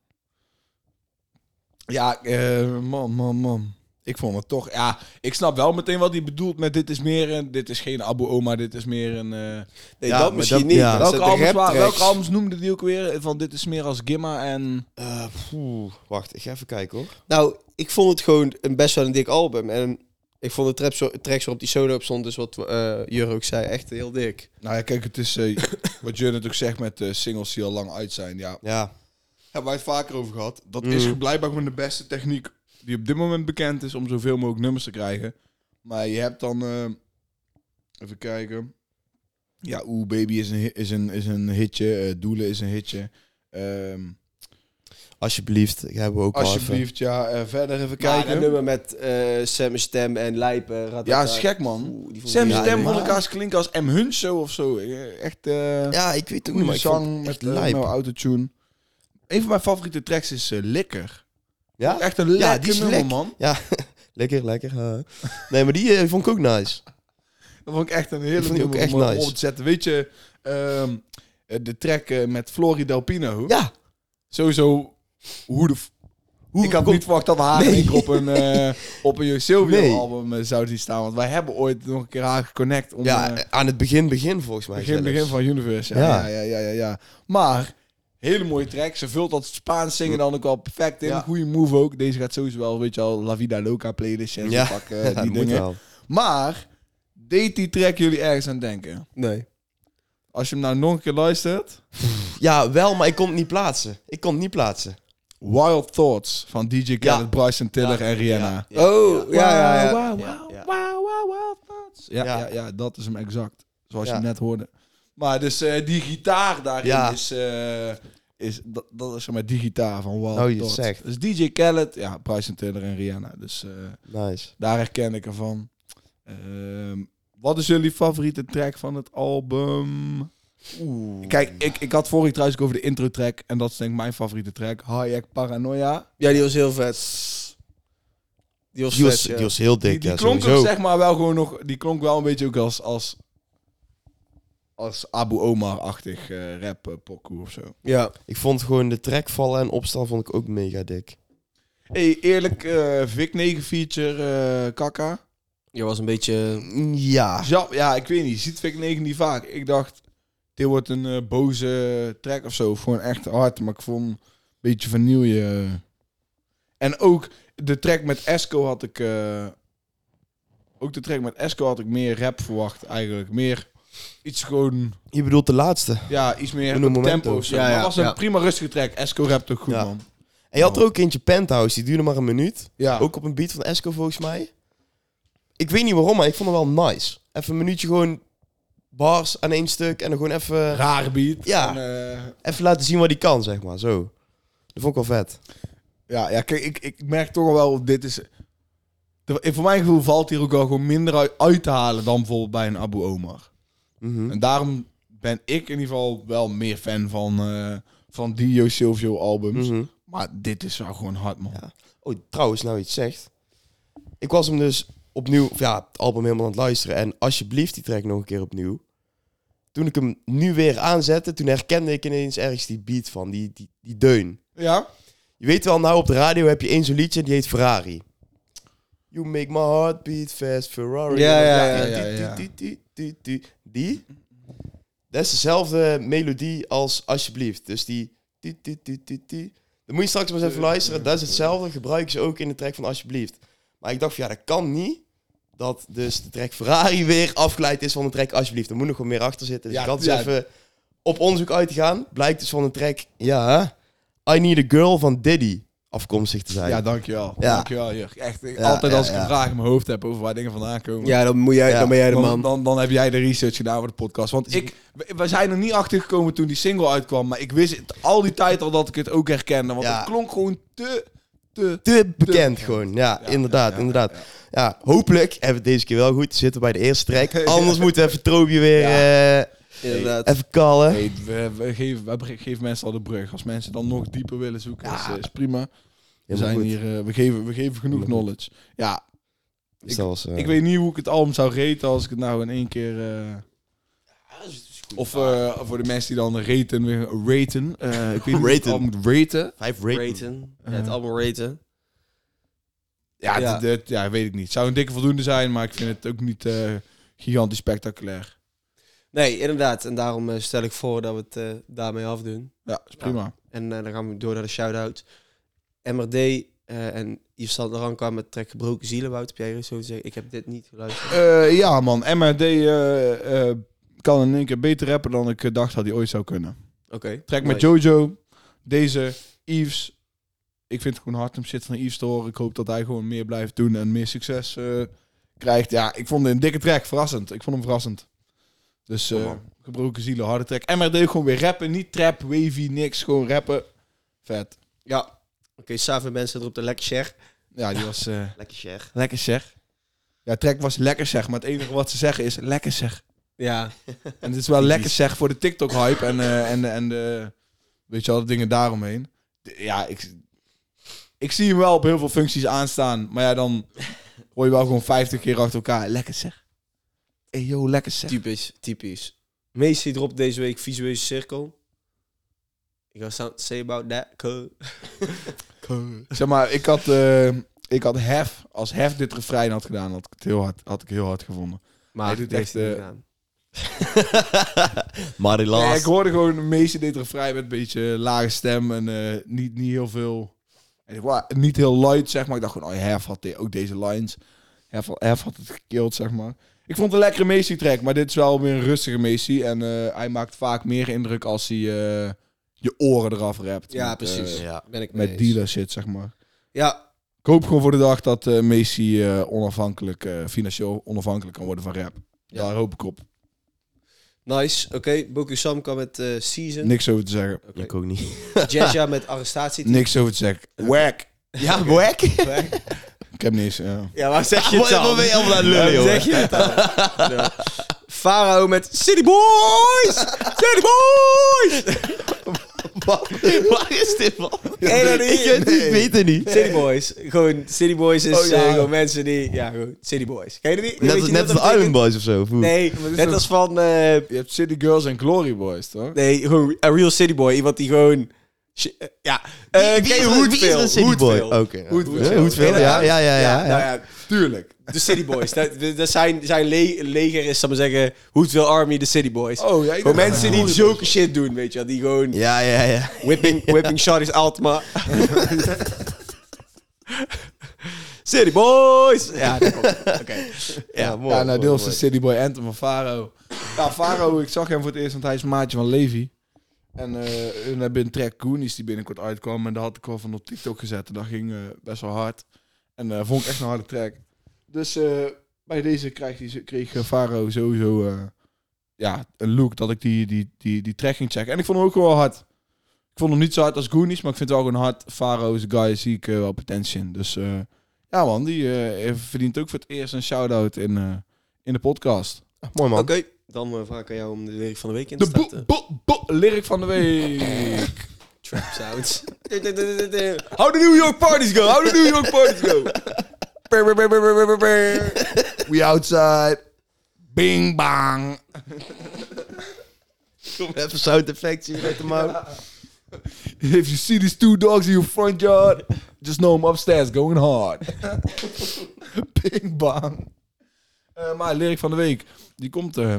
[SPEAKER 1] Ja, eh, man, man, man. Ik vond het toch... Ja, ik snap wel meteen wat hij bedoelt met dit is meer een... Dit is geen Abu Oma, dit is meer een... eh,
[SPEAKER 2] Nee,
[SPEAKER 3] Ja,
[SPEAKER 2] dat
[SPEAKER 3] maar
[SPEAKER 2] misschien
[SPEAKER 3] dat-
[SPEAKER 2] niet.
[SPEAKER 3] ja.
[SPEAKER 2] maar dat
[SPEAKER 1] welke,
[SPEAKER 2] zijn de
[SPEAKER 1] albums, wa-
[SPEAKER 2] raptracks.
[SPEAKER 1] welke albums noemde die ook weer? Van dit is meer als Gimma en...
[SPEAKER 3] Eh, poeh, wacht, ik ga even kijken hoor.
[SPEAKER 2] Nou, ik vond het gewoon een best wel een dik album. En ik vond de traps- tracks waarop die solo op stond, dus wat eh Jur ook zei, echt heel dik.
[SPEAKER 1] Nou ja, kijk, het is
[SPEAKER 3] *coughs*
[SPEAKER 1] eh, wat je natuurlijk zegt met eh, singles die al lang uit zijn. Ja,
[SPEAKER 3] Ja,
[SPEAKER 1] hebben wij het vaker over gehad. Dat
[SPEAKER 3] Mm.
[SPEAKER 1] is blijkbaar gewoon de beste techniek die op dit moment bekend is om zoveel mogelijk nummers te krijgen. Maar je hebt dan, eh, even kijken. Ja, Oeh Baby is een, hi- is een, is een hitje. eh, Doelen is een hitje. Ehm,
[SPEAKER 3] alsjeblieft. Die hebben we ook al even.
[SPEAKER 1] alsjeblieft, ja. eh, verder even
[SPEAKER 2] Kijk,
[SPEAKER 1] kijken.
[SPEAKER 2] een nummer met eh Sam Stem en Lijpen. Ratata.
[SPEAKER 1] Ja, is gek man.
[SPEAKER 2] Oeh, die vond
[SPEAKER 1] Sam
[SPEAKER 2] ik-
[SPEAKER 3] Ja,
[SPEAKER 1] Stem
[SPEAKER 3] nee.
[SPEAKER 1] vond elkaar klinken als M. Hunso of zo. Eh, Echt eh
[SPEAKER 3] Ja, ik weet het ook niet,
[SPEAKER 1] goede
[SPEAKER 3] maar ik vond
[SPEAKER 1] zang
[SPEAKER 3] het
[SPEAKER 1] met
[SPEAKER 3] echt
[SPEAKER 1] eh,
[SPEAKER 3] lijp.
[SPEAKER 1] nou, autotune. Een van mijn favoriete tracks is eh, Likker.
[SPEAKER 3] Ja?
[SPEAKER 1] Echt een lekker
[SPEAKER 3] die is
[SPEAKER 1] nummer,
[SPEAKER 3] lek.
[SPEAKER 1] man.
[SPEAKER 3] Lekker, lekker. eh. Nee, maar die eh, vond ik ook nice.
[SPEAKER 1] Dat vond ik echt een
[SPEAKER 3] Dat
[SPEAKER 1] hele
[SPEAKER 3] vond ik ook
[SPEAKER 1] nummer
[SPEAKER 3] echt
[SPEAKER 1] om eh,
[SPEAKER 3] nice.
[SPEAKER 1] op te zetten. Weet je, ehm, eh, de track eh, met Flori Del Pino.
[SPEAKER 3] Ja.
[SPEAKER 1] Sowieso, hoe de... f- ik had
[SPEAKER 3] komt-
[SPEAKER 1] niet verwacht dat haar in
[SPEAKER 3] Nee.
[SPEAKER 1] één keer op *laughs* een, eh op een Joost Silvio
[SPEAKER 3] Nee.
[SPEAKER 1] album eh, zou die staan. Want wij hebben ooit nog een keer haar geconnect. Om,
[SPEAKER 3] Ja,
[SPEAKER 1] eh,
[SPEAKER 3] eh, aan het begin, begin volgens mij.
[SPEAKER 1] begin,
[SPEAKER 3] zelfs.
[SPEAKER 1] begin van Universe. Ja, ja.
[SPEAKER 3] Ja.
[SPEAKER 1] Ja, ja, ja, ja. Maar, hele mooie track. Ze vult dat Spaans zingen dan ook wel perfect in.
[SPEAKER 3] Ja.
[SPEAKER 1] Goeie move ook. Deze gaat sowieso wel, weet je al, La Vida Loca playlist. En
[SPEAKER 3] Ja.
[SPEAKER 1] zo
[SPEAKER 3] *laughs*
[SPEAKER 1] pakken, die
[SPEAKER 3] Ja, dat moet
[SPEAKER 1] dingen.
[SPEAKER 3] wel.
[SPEAKER 1] Maar, deed die track jullie ergens aan denken?
[SPEAKER 2] Nee.
[SPEAKER 1] Als je hem nou nog een keer luistert.
[SPEAKER 3] Ja, wel, maar ik kon het niet plaatsen. Ik kon het niet plaatsen.
[SPEAKER 1] Wild Thoughts van DJ Khaled, Bryson Tiller en Rihanna.
[SPEAKER 3] Ja.
[SPEAKER 2] Oh, ja, ja, ja.
[SPEAKER 1] Wow, wow,
[SPEAKER 3] Ja,
[SPEAKER 1] wow,
[SPEAKER 3] ja.
[SPEAKER 1] wow, wow, wild thoughts. Ja, ja.
[SPEAKER 3] Ja.
[SPEAKER 1] Ja, dat is hem exact. Zoals
[SPEAKER 3] Ja.
[SPEAKER 1] je net hoorde. Maar dus eh, die gitaar daarin
[SPEAKER 3] Ja.
[SPEAKER 1] is... eh, is dat, dat is zeg maar die gitaar van Wild
[SPEAKER 3] Oh, je
[SPEAKER 1] Thoughts.
[SPEAKER 3] zegt.
[SPEAKER 1] Dus DJ Khaled, ja, Bryson Tiller en Rihanna. Dus eh,
[SPEAKER 3] Nice.
[SPEAKER 1] daar herken ik ervan. Ehm, wat is jullie favoriete track van het album?
[SPEAKER 3] Oeh.
[SPEAKER 1] Kijk, ik, ik had vorig trouwens ook over de intro track. En dat is denk ik mijn favoriete track. Hayek Paranoia.
[SPEAKER 2] Ja, die was heel vet. Die was
[SPEAKER 3] Die was,
[SPEAKER 2] vet, ja.
[SPEAKER 3] die was heel dik,
[SPEAKER 1] Die, die
[SPEAKER 3] ja,
[SPEAKER 1] klonk ook
[SPEAKER 3] sowieso.
[SPEAKER 1] zeg maar wel gewoon nog... Die klonk wel een beetje ook als... Als, als Abu Omar-achtig eh rap eh, pokoe of zo.
[SPEAKER 2] Ja.
[SPEAKER 3] Ik vond gewoon de track vallen en opstaan vond ik ook mega dik.
[SPEAKER 1] hey, eerlijk. eh Vic 9 feature, eh Kaka.
[SPEAKER 2] Die was een beetje...
[SPEAKER 3] Ja.
[SPEAKER 1] Ja, ja, ik weet niet. Je ziet Vic 9 niet vaak. Ik dacht... Dit wordt een eh, boze track of zo. Of gewoon echt hard. Maar ik vond... Een beetje vanille. eh. En ook... De track met Esco had ik... eh, Ook de track met Esco had ik meer rap verwacht eigenlijk. Meer iets gewoon,
[SPEAKER 3] Je bedoelt de laatste.
[SPEAKER 1] ja, iets meer
[SPEAKER 3] Een
[SPEAKER 1] op
[SPEAKER 3] momento.
[SPEAKER 1] tempo. of zo.
[SPEAKER 2] Ja,
[SPEAKER 1] Maar
[SPEAKER 2] ja,
[SPEAKER 1] het was een
[SPEAKER 2] ja.
[SPEAKER 1] prima rustige track. Esco rapt ook goed,
[SPEAKER 3] Ja.
[SPEAKER 1] man.
[SPEAKER 3] En je had er ook eentje Penthouse, die duurde maar een minuut.
[SPEAKER 1] Ja.
[SPEAKER 3] Ook op een beat van Esco volgens mij. Ik weet niet waarom, maar ik vond hem wel nice. Even een minuutje gewoon bars aan één stuk en dan gewoon even,
[SPEAKER 1] Rare beat.
[SPEAKER 3] Ja.
[SPEAKER 1] En, eh,
[SPEAKER 3] even laten zien wat hij kan, zeg maar. Zo. Dat vond ik wel vet.
[SPEAKER 1] Ja, ja kijk, ik, ik merk toch al wel, dit is... de- Voor mijn gevoel valt hier ook wel gewoon minder uit, uit te halen dan bijvoorbeeld bij een Abu Omar.
[SPEAKER 3] Mhm.
[SPEAKER 1] En daarom ben ik in ieder geval wel meer fan van, eh, van Dio Silvio albums.
[SPEAKER 3] Mhm.
[SPEAKER 1] Maar dit is wel gewoon hard, man.
[SPEAKER 3] Ja. Oh, trouwens, nou iets zegt. Ik was hem dus opnieuw, of ja, het album helemaal aan het luisteren. En alsjeblieft, die track nog een keer opnieuw. Toen ik hem nu weer aanzette, toen herkende ik ineens ergens die beat van, die, die, die deun.
[SPEAKER 1] Ja?
[SPEAKER 3] Je weet wel, nou op de radio heb je één zo'n liedje en die heet Ferrari. You make my heart beat fast, Ferrari.
[SPEAKER 2] Ja, ja, ja,
[SPEAKER 1] ja,
[SPEAKER 3] die,
[SPEAKER 1] ja.
[SPEAKER 3] die, die, die, die, die. Dat is dezelfde melodie als Alsjeblieft. Dus die... die, die, die, die, die. Dan moet je straks maar eens even luisteren. Dat is hetzelfde. Gebruiken ze ook in de track van Alsjeblieft. Maar ik dacht van, ja, dat kan niet. Dat dus de track Ferrari weer afgeleid is van de track Alsjeblieft. Er moet nog wat meer achter zitten. Dus
[SPEAKER 1] Ja,
[SPEAKER 3] ik had dus
[SPEAKER 1] ja.
[SPEAKER 3] even op onderzoek uitgegaan. Blijkt dus van de track... Ja, I Need a Girl van Diddy afkomstig te zijn.
[SPEAKER 1] Ja, dankjewel.
[SPEAKER 3] Ja.
[SPEAKER 1] Dankjewel, Jurk. Echt, ik-
[SPEAKER 2] Ja,
[SPEAKER 1] altijd
[SPEAKER 2] ja,
[SPEAKER 1] als ik
[SPEAKER 2] ja.
[SPEAKER 1] een vraag in mijn hoofd heb over waar dingen vandaan komen...
[SPEAKER 2] Ja, dan, moet jij,
[SPEAKER 3] Ja,
[SPEAKER 2] dan ben jij de
[SPEAKER 1] Dan,
[SPEAKER 2] man.
[SPEAKER 1] dan, dan heb jij de research gedaan voor de podcast. Want ik, we- we zijn er niet achter gekomen toen die single uitkwam. Maar ik wist het al die tijd al dat ik het ook herkende. Want
[SPEAKER 3] Ja.
[SPEAKER 1] het klonk gewoon te, te...
[SPEAKER 3] te bekend gewoon. Ja,
[SPEAKER 1] Ja,
[SPEAKER 3] inderdaad,
[SPEAKER 1] ja, ja,
[SPEAKER 3] inderdaad.
[SPEAKER 1] ja,
[SPEAKER 3] Ja, hopelijk hebben we het deze keer wel goed. Zitten we bij de eerste track. Anders moeten we even Trobi weer eh,
[SPEAKER 2] Inderdaad.
[SPEAKER 3] even kallen.
[SPEAKER 1] Nee, we, we geven, we bre- geven mensen al de brug. Als mensen dan nog dieper willen zoeken,
[SPEAKER 3] Ja.
[SPEAKER 1] is, is prima. We,
[SPEAKER 3] Helemaal
[SPEAKER 1] zijn
[SPEAKER 3] goed.
[SPEAKER 1] hier, eh, we, geven, we geven genoeg
[SPEAKER 3] Helemaal
[SPEAKER 1] knowledge. Ja,
[SPEAKER 3] Dus dat was, eh,
[SPEAKER 1] ik weet niet hoe ik het album zou reten als ik het nou in één keer... eh,
[SPEAKER 2] dus
[SPEAKER 1] of eh, voor de mensen die dan raten, weer- raten. eh, ik weet niet hoe je het
[SPEAKER 3] Raten.
[SPEAKER 1] album moet raten.
[SPEAKER 3] Vijf rating.
[SPEAKER 2] Raten. Ja,
[SPEAKER 3] Uh-huh.
[SPEAKER 2] het album raten.
[SPEAKER 1] Ja,
[SPEAKER 2] Ja.
[SPEAKER 1] Dat, dat- ja, weet ik niet. Zou een dikke voldoende zijn, maar ik vind het ook niet eh, gigantisch spectaculair.
[SPEAKER 2] Nee, inderdaad. En daarom eh, stel ik voor dat we het eh, daarmee afdoen.
[SPEAKER 1] Ja, is prima.
[SPEAKER 2] En eh, dan gaan we door naar de shout-out. MRD eh, en Yves Sanderan kwamen met trek Gebroken Zielen. Wout, heb jij er zo te zeggen? Ik heb dit niet geluisterd.
[SPEAKER 1] Ja, ja man. MRD eh, eh, kan in één keer beter rappen dan ik eh, dacht dat hij ooit zou kunnen.
[SPEAKER 2] Oké.
[SPEAKER 1] Trek met
[SPEAKER 2] nice.
[SPEAKER 1] Jojo. Deze, Yves. Ik vind het gewoon hard om shit van Yves te horen. Ik hoop dat hij gewoon meer blijft doen en meer succes eh, krijgt. Ja, ik vond het een dikke track. Verrassend. Ik vond hem verrassend. Dus eh,
[SPEAKER 3] Ja, man.
[SPEAKER 1] gebroken zielen, harde track. MRD gewoon weer rappen. Niet trap, wavy, niks. Gewoon rappen. Vet.
[SPEAKER 2] Ja. Oké, Savi mensen erop de lekker share.
[SPEAKER 1] Ja, die was... eh,
[SPEAKER 2] Lekker share.
[SPEAKER 1] Lekker zeg. Ja, track was lekker zeg, maar het enige wat ze zeggen is lekker zeg.
[SPEAKER 2] Ja.
[SPEAKER 1] En het is wel lekker zeg voor de TikTok-hype en, eh, en, en de, weet je wel, de dingen daaromheen. De- Ja, ik, ik zie hem wel op heel veel functies aanstaan, maar ja, dan hoor je wel gewoon 50 keer achter elkaar. Lekker zeg. Hey yo, lekker zeg.
[SPEAKER 2] Typisch, typisch. Macy dropt deze week visuele cirkel. Ik was aan say about that. Cool.
[SPEAKER 1] Zeg maar, ik had, eh, ik had Hef, als Hef dit refrein had gedaan, had ik het heel hard, had ik heel hard gevonden.
[SPEAKER 2] Maar
[SPEAKER 1] Hij doet
[SPEAKER 2] dat
[SPEAKER 1] echt,
[SPEAKER 2] heeft hij niet
[SPEAKER 1] eh,
[SPEAKER 2] gedaan.
[SPEAKER 3] *laughs* maar helaas.
[SPEAKER 1] Nee, ik hoorde gewoon de meeste dit refrein met een beetje eh, lage stem en eh, niet, niet heel veel. En ik, wa- niet heel light, zeg maar. Ik dacht gewoon, oh, Hef had de- ook deze lines. Hef, Hef had het gekild, zeg maar. Ik vond het een lekkere Macy track, maar dit is wel weer een rustige Macy. En eh, hij maakt vaak meer indruk als hij eh, je oren eraf rapt.
[SPEAKER 2] Ja,
[SPEAKER 1] met,
[SPEAKER 2] precies.
[SPEAKER 1] eh,
[SPEAKER 3] ja.
[SPEAKER 2] Ben ik mee
[SPEAKER 1] met
[SPEAKER 2] eens.
[SPEAKER 1] dealer shit, zeg maar.
[SPEAKER 2] Ja,
[SPEAKER 1] Ik hoop gewoon voor de dag dat eh Macy eh, onafhankelijk, eh, financieel onafhankelijk kan worden van rap.
[SPEAKER 2] Ja.
[SPEAKER 1] Daar hoop ik op.
[SPEAKER 2] nice. Oké, Boku Sam kwam met eh, Season.
[SPEAKER 1] Niks over te zeggen.
[SPEAKER 2] Oké.
[SPEAKER 3] Ik ook niet.
[SPEAKER 2] Jaja met Arrestatie.
[SPEAKER 1] Niks over te zeggen. Wack.
[SPEAKER 3] Ja, wack.
[SPEAKER 1] Ik heb niet eens... eh,
[SPEAKER 2] Ja, waar zeg je
[SPEAKER 3] *laughs* Wat-
[SPEAKER 2] het dan?
[SPEAKER 3] wat ben je allemaal aan het lullen,
[SPEAKER 2] Waarom
[SPEAKER 3] jongen?
[SPEAKER 2] zeg je het dan? Ja. Farao met City Boys! City Boys!
[SPEAKER 3] Waar is dit man?
[SPEAKER 2] Ken je dat niet?
[SPEAKER 3] Ik weet het niet, ik weet het niet.
[SPEAKER 2] City Boys. Gewoon, City Boys is
[SPEAKER 1] Oh, ja.
[SPEAKER 2] eh, gewoon mensen die... Ja, gewoon, City Boys. Ken je dat niet? Weet
[SPEAKER 3] Net,
[SPEAKER 2] je
[SPEAKER 3] als-
[SPEAKER 2] wat
[SPEAKER 3] net
[SPEAKER 2] dat
[SPEAKER 3] als de Island
[SPEAKER 2] betekent?
[SPEAKER 3] Boys of zo. of hoe?
[SPEAKER 2] Nee, net als van... eh,
[SPEAKER 1] Je hebt City Girls en Glory Boys,
[SPEAKER 2] *laughs*
[SPEAKER 1] toch?
[SPEAKER 2] nee, gewoon een real City Boy. Iemand die gewoon... sh- eh, Ja. Eh,
[SPEAKER 3] Wie- wie
[SPEAKER 2] ken je
[SPEAKER 3] is een- wie is
[SPEAKER 2] Hoedveel?
[SPEAKER 3] een City Boy?
[SPEAKER 2] Hoedveel.
[SPEAKER 3] Oké. ja.
[SPEAKER 1] Hoedveel.
[SPEAKER 3] Ja, Hoedveel, ja, ja, ja, ja.
[SPEAKER 2] nou
[SPEAKER 3] ja.
[SPEAKER 1] Tuurlijk.
[SPEAKER 2] De City Boys. Dat, dat zijn, zijn le- leger is, zal ik maar zeggen, Hoedveel Army, de City Boys.
[SPEAKER 1] Oh, ja, ik
[SPEAKER 2] Gewoon
[SPEAKER 1] dacht-
[SPEAKER 2] mensen die zulke shit doen, weet je wel. Die gewoon
[SPEAKER 3] Ja, ja, ja.
[SPEAKER 2] whipping, whipping shot is Altma. City Boys! Ja, dat komt. Oké. Ja.
[SPEAKER 3] mooi.
[SPEAKER 1] Ja, nou,
[SPEAKER 3] mooi,
[SPEAKER 1] deels de
[SPEAKER 3] mooi.
[SPEAKER 1] City Boy Anthem van Faro. Ja, Faro, ik zag hem voor het eerst, want hij is een maatje van Levi. En eh hun hebben een track Goonies die binnenkort uitkwam. En daar had ik wel van op TikTok gezet. En dat ging eh, best wel hard. En eh, vond ik echt een harde track. Dus eh, bij deze kreeg, die, kreeg eh, Faro sowieso eh, ja, een look dat ik die, die, die, die track ging checken. En ik vond hem ook wel hard. Ik vond hem niet zo hard als Goonies, maar ik vind het wel gewoon hard. Faro is een guy, zie ik eh, wel potentie in. Dus eh, ja man, die eh, verdient ook voor het eerst een shout-out in, eh, in de podcast.
[SPEAKER 3] Mooi man.
[SPEAKER 2] Oké, dan eh, vraag ik aan jou om de lyric van de week in te
[SPEAKER 1] De bo
[SPEAKER 2] starten.
[SPEAKER 1] bo bo lyric van de
[SPEAKER 2] *laughs*
[SPEAKER 1] week.
[SPEAKER 2] Trap sounds. *laughs* how the New York parties go, how the New York parties go. Brr, brr, brr, brr, brr, brr, brr.
[SPEAKER 1] We outside. Bing bang.
[SPEAKER 3] Kom even sound effects hier uit de *laughs* mouw.
[SPEAKER 1] If you see these two dogs in your front yard, just know I'm upstairs going
[SPEAKER 2] *laughs*
[SPEAKER 1] hard. Bing bang. Eh, maar lyric van de week, die komt eh,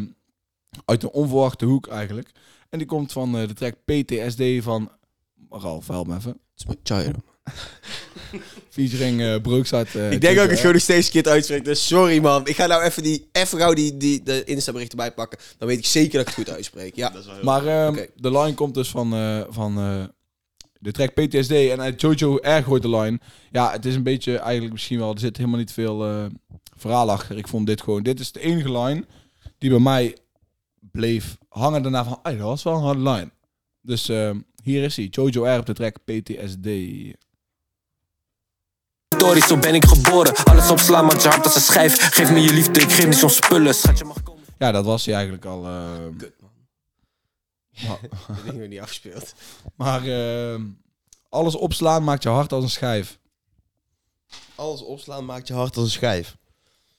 [SPEAKER 1] uit een onverwachte hoek eigenlijk. En die komt van eh, de track PTSD van Ralf, help me even. Featuring eh Brookside. eh,
[SPEAKER 2] Ik denk ook dat ik
[SPEAKER 1] Joker.
[SPEAKER 2] het gewoon nog steeds verkeerd uitspreek. Dus sorry man. Ik ga nou even, die, even gauw die, die, de Insta-berichten bijpakken. Dan weet ik zeker dat ik het goed uitspreek. Ja.
[SPEAKER 1] Maar ehm,
[SPEAKER 2] Oké.
[SPEAKER 1] de line komt dus van, eh, van eh, de track PTSD en uit Jojo erg hoort de line. Ja, het is een beetje eigenlijk misschien wel, er zit helemaal niet veel eh, verhaal achter. Ik vond dit gewoon, dit is de enige line die bij mij bleef hangen daarna van, "Ai, dat was wel een harde line. Dus ehm, hier is hij, Jojo R op de track PTSD.
[SPEAKER 4] Tori, zo ben ik geboren. Alles opslaan, maar je hart als een schijf. Geef me je liefde, ik geef niet zo'n spullen. Schatje mag komen.
[SPEAKER 1] Ja, dat was hij eigenlijk al. ehm.
[SPEAKER 2] Kut man.
[SPEAKER 1] maar
[SPEAKER 2] Dat ding nog *laughs* niet afgespeeld.
[SPEAKER 1] maar, ehm, alles opslaan maakt je hart als een schijf.
[SPEAKER 3] Alles opslaan maakt je hart als een schijf.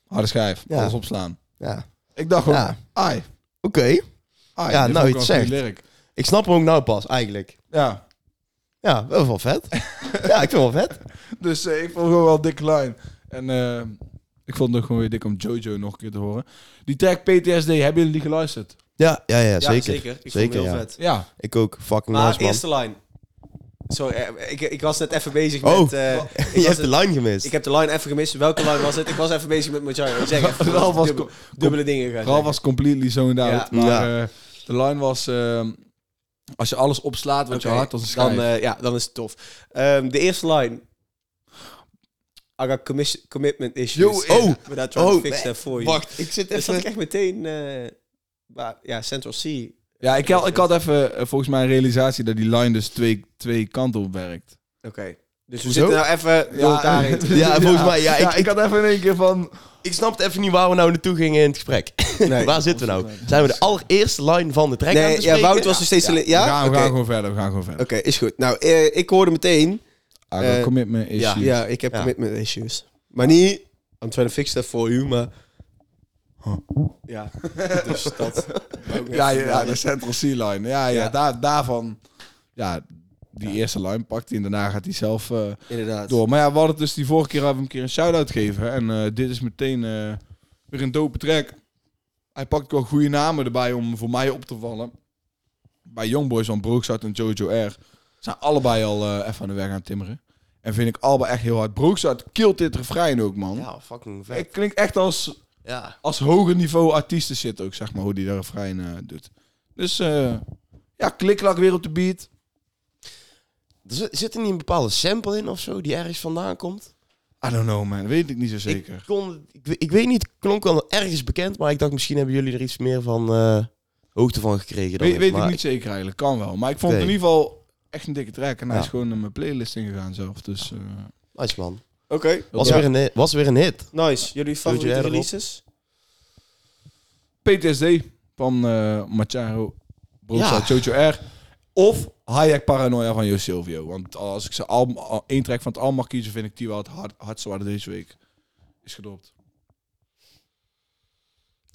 [SPEAKER 1] Harde schijf,
[SPEAKER 3] Ja.
[SPEAKER 1] alles opslaan.
[SPEAKER 3] Ja.
[SPEAKER 1] Ik dacht gewoon,
[SPEAKER 3] Ja.
[SPEAKER 1] ai,
[SPEAKER 3] Oké.
[SPEAKER 1] Ah,
[SPEAKER 3] Ja,
[SPEAKER 1] dit
[SPEAKER 3] nou,
[SPEAKER 1] vond ik
[SPEAKER 3] iets
[SPEAKER 1] wel een
[SPEAKER 3] zegt.
[SPEAKER 1] goede lyric.
[SPEAKER 3] Ik snap hem ook nou pas, eigenlijk.
[SPEAKER 1] Ja,
[SPEAKER 3] Ja, wel wel vet. ja, ik vind wel vet.
[SPEAKER 1] dus eh, ik vond gewoon wel een dikke line. En eh, ik vond het ook gewoon weer dik om Jojo nog een keer te horen. Die track PTSD, hebben jullie die geluisterd?
[SPEAKER 3] Ja, ja, ja,
[SPEAKER 2] Ja,
[SPEAKER 3] zeker.
[SPEAKER 2] zeker. Ik vond hem heel
[SPEAKER 3] ja.
[SPEAKER 2] vet.
[SPEAKER 1] Ja.
[SPEAKER 3] Ik ook. Fucking
[SPEAKER 2] Maar
[SPEAKER 3] nice, *laughs* man.
[SPEAKER 2] eerste line. Sorry, eh, ik, ik was net even bezig
[SPEAKER 3] Oh.
[SPEAKER 2] met... eh, ik was
[SPEAKER 3] *laughs* Je hebt
[SPEAKER 2] net-
[SPEAKER 3] de line gemist.
[SPEAKER 2] Ik heb de line even gemist. Welke line was het? Ik was even bezig met Majayo.
[SPEAKER 3] *laughs*
[SPEAKER 2] Zeg even.
[SPEAKER 1] Ralf was
[SPEAKER 2] dubbele,
[SPEAKER 1] co-
[SPEAKER 2] dubbele dingen gaan
[SPEAKER 1] Ralf
[SPEAKER 2] zeggen.
[SPEAKER 1] was completely zoned
[SPEAKER 2] Ja.
[SPEAKER 1] out. Maar
[SPEAKER 3] Ja.
[SPEAKER 1] eh, de line was... eh, als je alles opslaat, want
[SPEAKER 2] Oké,
[SPEAKER 1] je hart als een schijf.
[SPEAKER 2] dan, eh, Ja, dan is het tof. Ehm, de eerste line. I got commis- commitment issues.
[SPEAKER 3] Yo, eh,
[SPEAKER 2] But I try to
[SPEAKER 3] oh,
[SPEAKER 2] fix
[SPEAKER 3] nee,
[SPEAKER 2] that for you.
[SPEAKER 3] Wacht, ik zit
[SPEAKER 2] Dus dat ik
[SPEAKER 3] even...
[SPEAKER 2] echt meteen... eh, maar, ja, Central C. Oké.
[SPEAKER 1] ja, ik, had- ik had even eh, volgens mij een realisatie dat die line dus twee, twee kanten op werkt.
[SPEAKER 2] Dus we
[SPEAKER 3] Hoezo?
[SPEAKER 2] zitten nou even...
[SPEAKER 1] *laughs*
[SPEAKER 2] Ja, daarin.
[SPEAKER 3] Ja, volgens mij, ja, ik-
[SPEAKER 1] ik had even in één keer van...
[SPEAKER 3] Ik snap even niet waar we nou naartoe gingen in het gesprek.
[SPEAKER 2] Nee.
[SPEAKER 3] *laughs* waar zitten we nou? Zijn we de allereerste line van de track aan
[SPEAKER 2] Nee,
[SPEAKER 3] het
[SPEAKER 2] ja,
[SPEAKER 3] bespreken?
[SPEAKER 2] Wout was nog steeds... Ja?
[SPEAKER 1] we, gaan,
[SPEAKER 2] Oké,
[SPEAKER 1] we gaan gewoon verder, we gaan gewoon verder.
[SPEAKER 2] Oké, is goed. Nou, eh, ik hoorde meteen...
[SPEAKER 1] I got
[SPEAKER 2] Eh,
[SPEAKER 1] commitment
[SPEAKER 3] ja.
[SPEAKER 1] issues.
[SPEAKER 2] Ja, ik heb
[SPEAKER 3] Ja.
[SPEAKER 2] commitment issues. Maar niet... I'm trying to fix that for you, maar... Ja, dus dat...
[SPEAKER 1] Ja, ja, ja, de Central C-line. Ja, ja,
[SPEAKER 2] Ja.
[SPEAKER 1] Daar, daarvan. Ja, die eerste line pakt hij en daarna gaat hij zelf eh,
[SPEAKER 2] Inderdaad.
[SPEAKER 1] door. Maar ja, we hadden het dus die vorige keer hebben we hem een keer een shout-out gegeven. En eh, dit is meteen eh, weer een dope track. Hij pakt wel goede namen erbij om voor mij op te vallen. Bij Youngboys van Brookside en Jojo R. zijn allebei al eh, even aan de weg aan het timmeren. En vind ik allebei echt heel hard. Brookside killt dit refrein ook, man.
[SPEAKER 3] Ja, fucking vet.
[SPEAKER 1] het klinkt echt als
[SPEAKER 3] Ja.
[SPEAKER 1] als hoger niveau artiesten zit ook, zeg maar, hoe die daar refrein eh, doet. Dus eh ja, klikklak weer op de beat.
[SPEAKER 3] Er zi- zit er niet een bepaalde sample in of zo die ergens vandaan komt?
[SPEAKER 1] I don't know, man. Weet ik niet zo zeker.
[SPEAKER 3] Ik, kon, ik, we- ik weet niet, het klonk wel ergens bekend, maar ik dacht misschien hebben jullie er iets meer van eh, hoogte van gekregen. Dan
[SPEAKER 1] weet weet ik
[SPEAKER 3] maar
[SPEAKER 1] niet zeker eigenlijk. Kan wel. Maar ik vond het
[SPEAKER 3] Oké.
[SPEAKER 1] in ieder geval echt een dikke track. En hij
[SPEAKER 3] Ja.
[SPEAKER 1] is gewoon in mijn playlist ingegaan zelf. Dus eh,
[SPEAKER 3] Nice man.
[SPEAKER 2] Oké,
[SPEAKER 3] Was,
[SPEAKER 1] Ja.
[SPEAKER 3] weer een, hit- was weer een hit.
[SPEAKER 2] nice. Jullie favoriete
[SPEAKER 3] jij erop?
[SPEAKER 2] releases?
[SPEAKER 1] PTSD van eh Macharo, Broza,
[SPEAKER 3] Ja.
[SPEAKER 1] Jojo R. Of Hayek Paranoia van Jo Silvio. Want als ik ze al, al één track van het album mag kiezen, vind ik die wel het hard, hardste waar deze week is gedropt.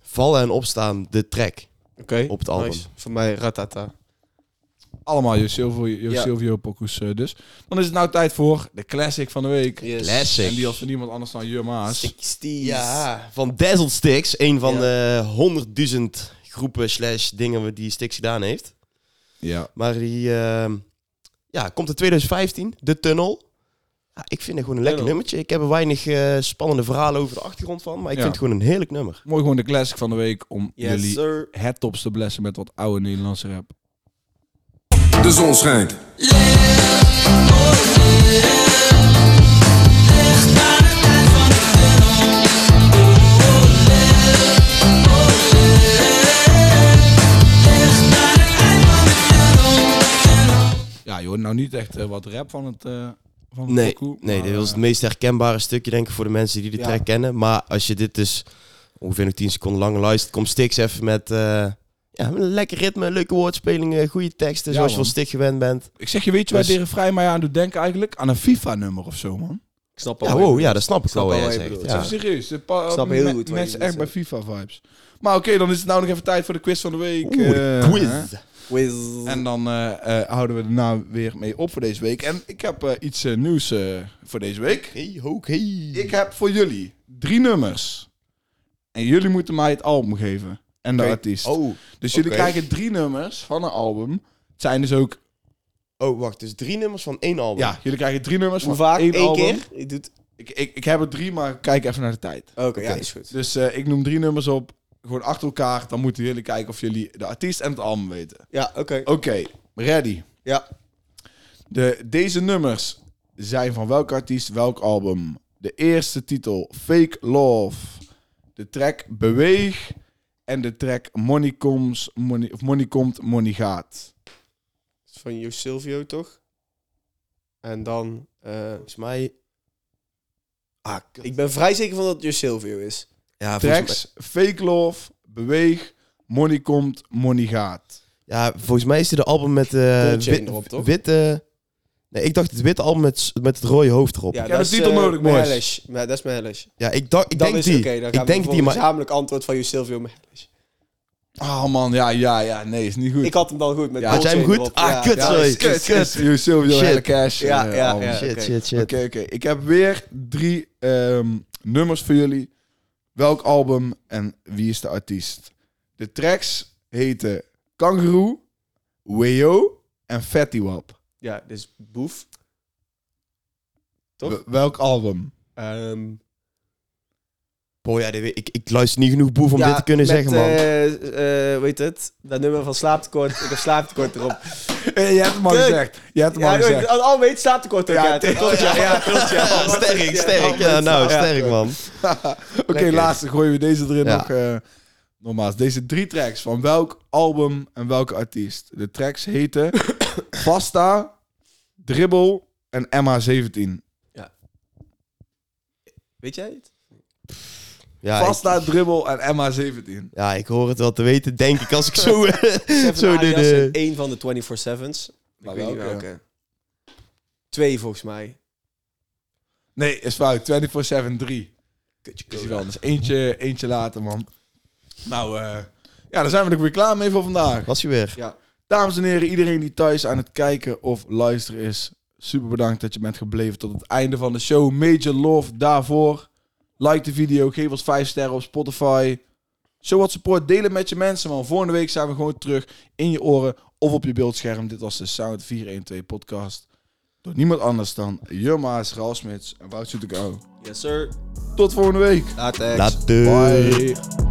[SPEAKER 3] Vallen en opstaan, de track.
[SPEAKER 2] Oké.
[SPEAKER 3] Op het album.
[SPEAKER 2] Voor mij Ratata.
[SPEAKER 1] Allemaal Jo Silvio, Jo
[SPEAKER 2] Ja.
[SPEAKER 1] Silvio pokus eh, dus. Dan is het nou tijd voor de classic van de week.
[SPEAKER 3] Classic.
[SPEAKER 1] En die als van niemand anders dan Jur Maas.
[SPEAKER 2] 60
[SPEAKER 3] Ja, van Dazzled Sticks. Een van
[SPEAKER 2] Ja.
[SPEAKER 3] de 100.000 groepen slash dingen die Sticks gedaan heeft.
[SPEAKER 1] Ja.
[SPEAKER 3] Maar die ehm, ja, komt in 2015, De Tunnel. Ja, ik vind het gewoon een lekker nummertje. Ik heb er weinig eh, spannende verhalen over de achtergrond van, maar ik
[SPEAKER 1] Ja.
[SPEAKER 3] vind het gewoon een heerlijk nummer.
[SPEAKER 1] Mooi gewoon de classic van de week om jullie
[SPEAKER 2] sir.
[SPEAKER 1] het tops te blessen met wat oude Nederlandse rap.
[SPEAKER 5] De zon schijnt.
[SPEAKER 1] Ja joh, nou niet echt eh, wat rap van het... eh, van het
[SPEAKER 3] Nee,
[SPEAKER 1] pokoe,
[SPEAKER 3] nee
[SPEAKER 1] maar,
[SPEAKER 3] dit was
[SPEAKER 1] eh,
[SPEAKER 3] het meest herkenbare stukje denk ik voor de mensen die de
[SPEAKER 1] Ja.
[SPEAKER 3] track kennen. Maar als je dit dus ongeveer nog 10 seconden lang luistert, komt Stix even met, eh, ja, met een lekker ritme, leuke woordspelingen, goede teksten,
[SPEAKER 1] Ja,
[SPEAKER 3] zoals je
[SPEAKER 1] man.
[SPEAKER 3] van Stix gewend bent.
[SPEAKER 1] Ik zeg je, weet je waar
[SPEAKER 3] Dus-
[SPEAKER 1] deze vrij mij aan doet denken eigenlijk? Aan een FIFA-nummer of zo, man.
[SPEAKER 2] Ik snap al.
[SPEAKER 3] Ja,
[SPEAKER 2] wat je
[SPEAKER 3] wow, ja,
[SPEAKER 2] bedoelt.
[SPEAKER 3] dat snap ik
[SPEAKER 2] Snap
[SPEAKER 3] wel wat
[SPEAKER 2] al
[SPEAKER 3] jij
[SPEAKER 2] wat je
[SPEAKER 3] zegt.
[SPEAKER 2] bedoelt.
[SPEAKER 3] Ja.
[SPEAKER 1] Even serieus. Ik
[SPEAKER 2] snap heel goed wat je
[SPEAKER 1] Mensen
[SPEAKER 2] bedoelt,
[SPEAKER 1] echt bij FIFA-vibes. Maar oké, dan is het nou nog even tijd voor de quiz van de week.
[SPEAKER 3] Oeh, de
[SPEAKER 1] eh, hè?
[SPEAKER 3] quiz.
[SPEAKER 2] Wiz.
[SPEAKER 1] En dan eh, eh, houden we daarna weer mee op voor deze week. En ik heb eh, iets eh, nieuws eh, voor deze week.
[SPEAKER 3] Hey, ho, hey.
[SPEAKER 1] Ik heb voor jullie drie nummers. En jullie moeten mij het album geven. En de
[SPEAKER 3] Oké.
[SPEAKER 1] artiest.
[SPEAKER 3] Oh,
[SPEAKER 1] dus jullie
[SPEAKER 3] oké.
[SPEAKER 1] krijgen drie nummers van een album. Het zijn dus ook...
[SPEAKER 3] oh, wacht, dus drie nummers van één album.
[SPEAKER 1] Ja, jullie krijgen drie nummers
[SPEAKER 2] Hoe
[SPEAKER 1] van
[SPEAKER 2] vaak?
[SPEAKER 1] één
[SPEAKER 2] Eén
[SPEAKER 1] album.
[SPEAKER 2] keer? Ik doe het-
[SPEAKER 1] Ik, ik, ik heb er drie, maar kijk even naar de tijd.
[SPEAKER 2] oh, Oké, ja, is goed.
[SPEAKER 1] Dus eh, ik noem drie nummers op. Gewoon achter elkaar. Dan moeten jullie kijken of jullie de artiest en het album weten.
[SPEAKER 2] Ja, oké.
[SPEAKER 1] Oké, ready.
[SPEAKER 2] Ja.
[SPEAKER 1] De, deze nummers zijn van welke artiest, welk album? De eerste titel Fake Love. De track Beweeg. En de track Money Comes, Money, of Money Komt, Money Gaat.
[SPEAKER 6] van Jo Silvio, toch? En dan... eh,
[SPEAKER 3] Volgens mij... Ah, kut.
[SPEAKER 2] Ik ben vrij zeker van dat het Jo Silvio is.
[SPEAKER 3] ja, Ah, volgens mij,
[SPEAKER 1] Tracks Fake Love, Beweeg, Money Komt, Money Gaat.
[SPEAKER 3] ja, volgens mij is dit de album met eh
[SPEAKER 6] Gold Chain
[SPEAKER 3] wit,
[SPEAKER 6] erop, toch?
[SPEAKER 3] witte... Nee, ik dacht het witte album met, s- met het rode hoofd erop. Ja,
[SPEAKER 1] heb een titel
[SPEAKER 6] eh,
[SPEAKER 1] nodig,
[SPEAKER 6] Mahalish.
[SPEAKER 1] boys.
[SPEAKER 6] Maar dat is Mahalish.
[SPEAKER 3] ik, dacht, ik
[SPEAKER 2] Dan
[SPEAKER 3] denk
[SPEAKER 2] is
[SPEAKER 3] die.
[SPEAKER 2] oké. dan gaan
[SPEAKER 3] ik denk
[SPEAKER 2] we voor
[SPEAKER 3] die, maar...
[SPEAKER 2] een gezamenlijk antwoord van Jo Silvio Mahalish.
[SPEAKER 1] Oh man, ja, ja, ja. Nee, is niet goed.
[SPEAKER 2] Ik had hem dan goed. Met
[SPEAKER 1] Ja,
[SPEAKER 2] Gold
[SPEAKER 3] had jij hem
[SPEAKER 2] Chain
[SPEAKER 3] goed?
[SPEAKER 2] erop.
[SPEAKER 3] Ah,
[SPEAKER 2] Ja.
[SPEAKER 3] kut,
[SPEAKER 2] Ja,
[SPEAKER 1] Ja,
[SPEAKER 3] sorry.
[SPEAKER 1] is kut, kut. You Silvio
[SPEAKER 3] Shit.
[SPEAKER 1] Hele Cash.
[SPEAKER 2] Ja,
[SPEAKER 1] eh,
[SPEAKER 2] ja,
[SPEAKER 1] album.
[SPEAKER 2] ja.
[SPEAKER 1] Shit.
[SPEAKER 3] Shit,
[SPEAKER 2] oké.
[SPEAKER 3] shit, shit.
[SPEAKER 1] Oké, oké. Ik heb weer drie ehm, nummers voor jullie. Welk album en wie is de artiest? De tracks heten Kangaroo, Wayo en Fatty Wap.
[SPEAKER 6] Ja, dus Boef. Toch?
[SPEAKER 1] W- Welk album?
[SPEAKER 6] Ehm,
[SPEAKER 3] Boy, ja, dit weet- ik, ik luister niet genoeg boef om
[SPEAKER 2] Ja,
[SPEAKER 3] dit te kunnen
[SPEAKER 2] met,
[SPEAKER 3] zeggen, man.
[SPEAKER 2] eh, eh, weet het? Dat nummer van slaaptekort. ik heb slaaptekort
[SPEAKER 3] *laughs*
[SPEAKER 2] erop.
[SPEAKER 1] Eh, je hebt hem al
[SPEAKER 2] Kut.
[SPEAKER 1] gezegd. Je hebt hem al
[SPEAKER 2] Ja,
[SPEAKER 1] gezegd.
[SPEAKER 2] al, al weet slaaptekort ook.
[SPEAKER 1] Ja,
[SPEAKER 3] *laughs*
[SPEAKER 2] Ja, klopt, ja, ja, klopt, ja. *laughs*
[SPEAKER 3] sterk, sterk. Ja, nou, sterk, man.
[SPEAKER 1] Oké, laatste gooien we deze erin
[SPEAKER 3] Ja.
[SPEAKER 1] nog. eh nogmaals, deze drie tracks van welk album en welke artiest? De tracks heten Pasta, Dribble en MH17.
[SPEAKER 2] Weet jij
[SPEAKER 3] *laughs*
[SPEAKER 2] het?
[SPEAKER 3] Ja, ik,
[SPEAKER 1] Pasta, Dribble en MH17.
[SPEAKER 3] ja, ik hoor het wel te weten, denk ik, als ik zo...
[SPEAKER 2] Zo
[SPEAKER 3] zo eh,
[SPEAKER 2] de,
[SPEAKER 3] de, de,
[SPEAKER 2] Eén van de 24-7's.
[SPEAKER 1] Maar
[SPEAKER 2] Ik weet
[SPEAKER 1] welke?
[SPEAKER 2] niet welke. Twee volgens mij.
[SPEAKER 1] Nee, is fout. 24-7-3.
[SPEAKER 2] Kutje
[SPEAKER 1] Is
[SPEAKER 2] cola.
[SPEAKER 1] die wel. Dus eentje, eentje later, man. Nou, eh, ja, daar zijn we er weer klaar mee voor vandaag.
[SPEAKER 3] was je weer.
[SPEAKER 1] Dames en heren, iedereen die thuis aan het kijken of luisteren is, super bedankt dat je bent gebleven tot het einde van de show. Major love daarvoor. Like de video, geef ons 5 sterren op Spotify. Show wat support, delen met je mensen, man. Volgende week zijn we gewoon terug in je oren of op je beeldscherm. Dit was de Sound 412 podcast. Door niemand anders dan Jurma's, Ralf Smits en Wout Zoetekau.
[SPEAKER 2] Yes, sir.
[SPEAKER 1] Tot volgende week.
[SPEAKER 2] Latex.
[SPEAKER 3] Later.
[SPEAKER 1] Bye.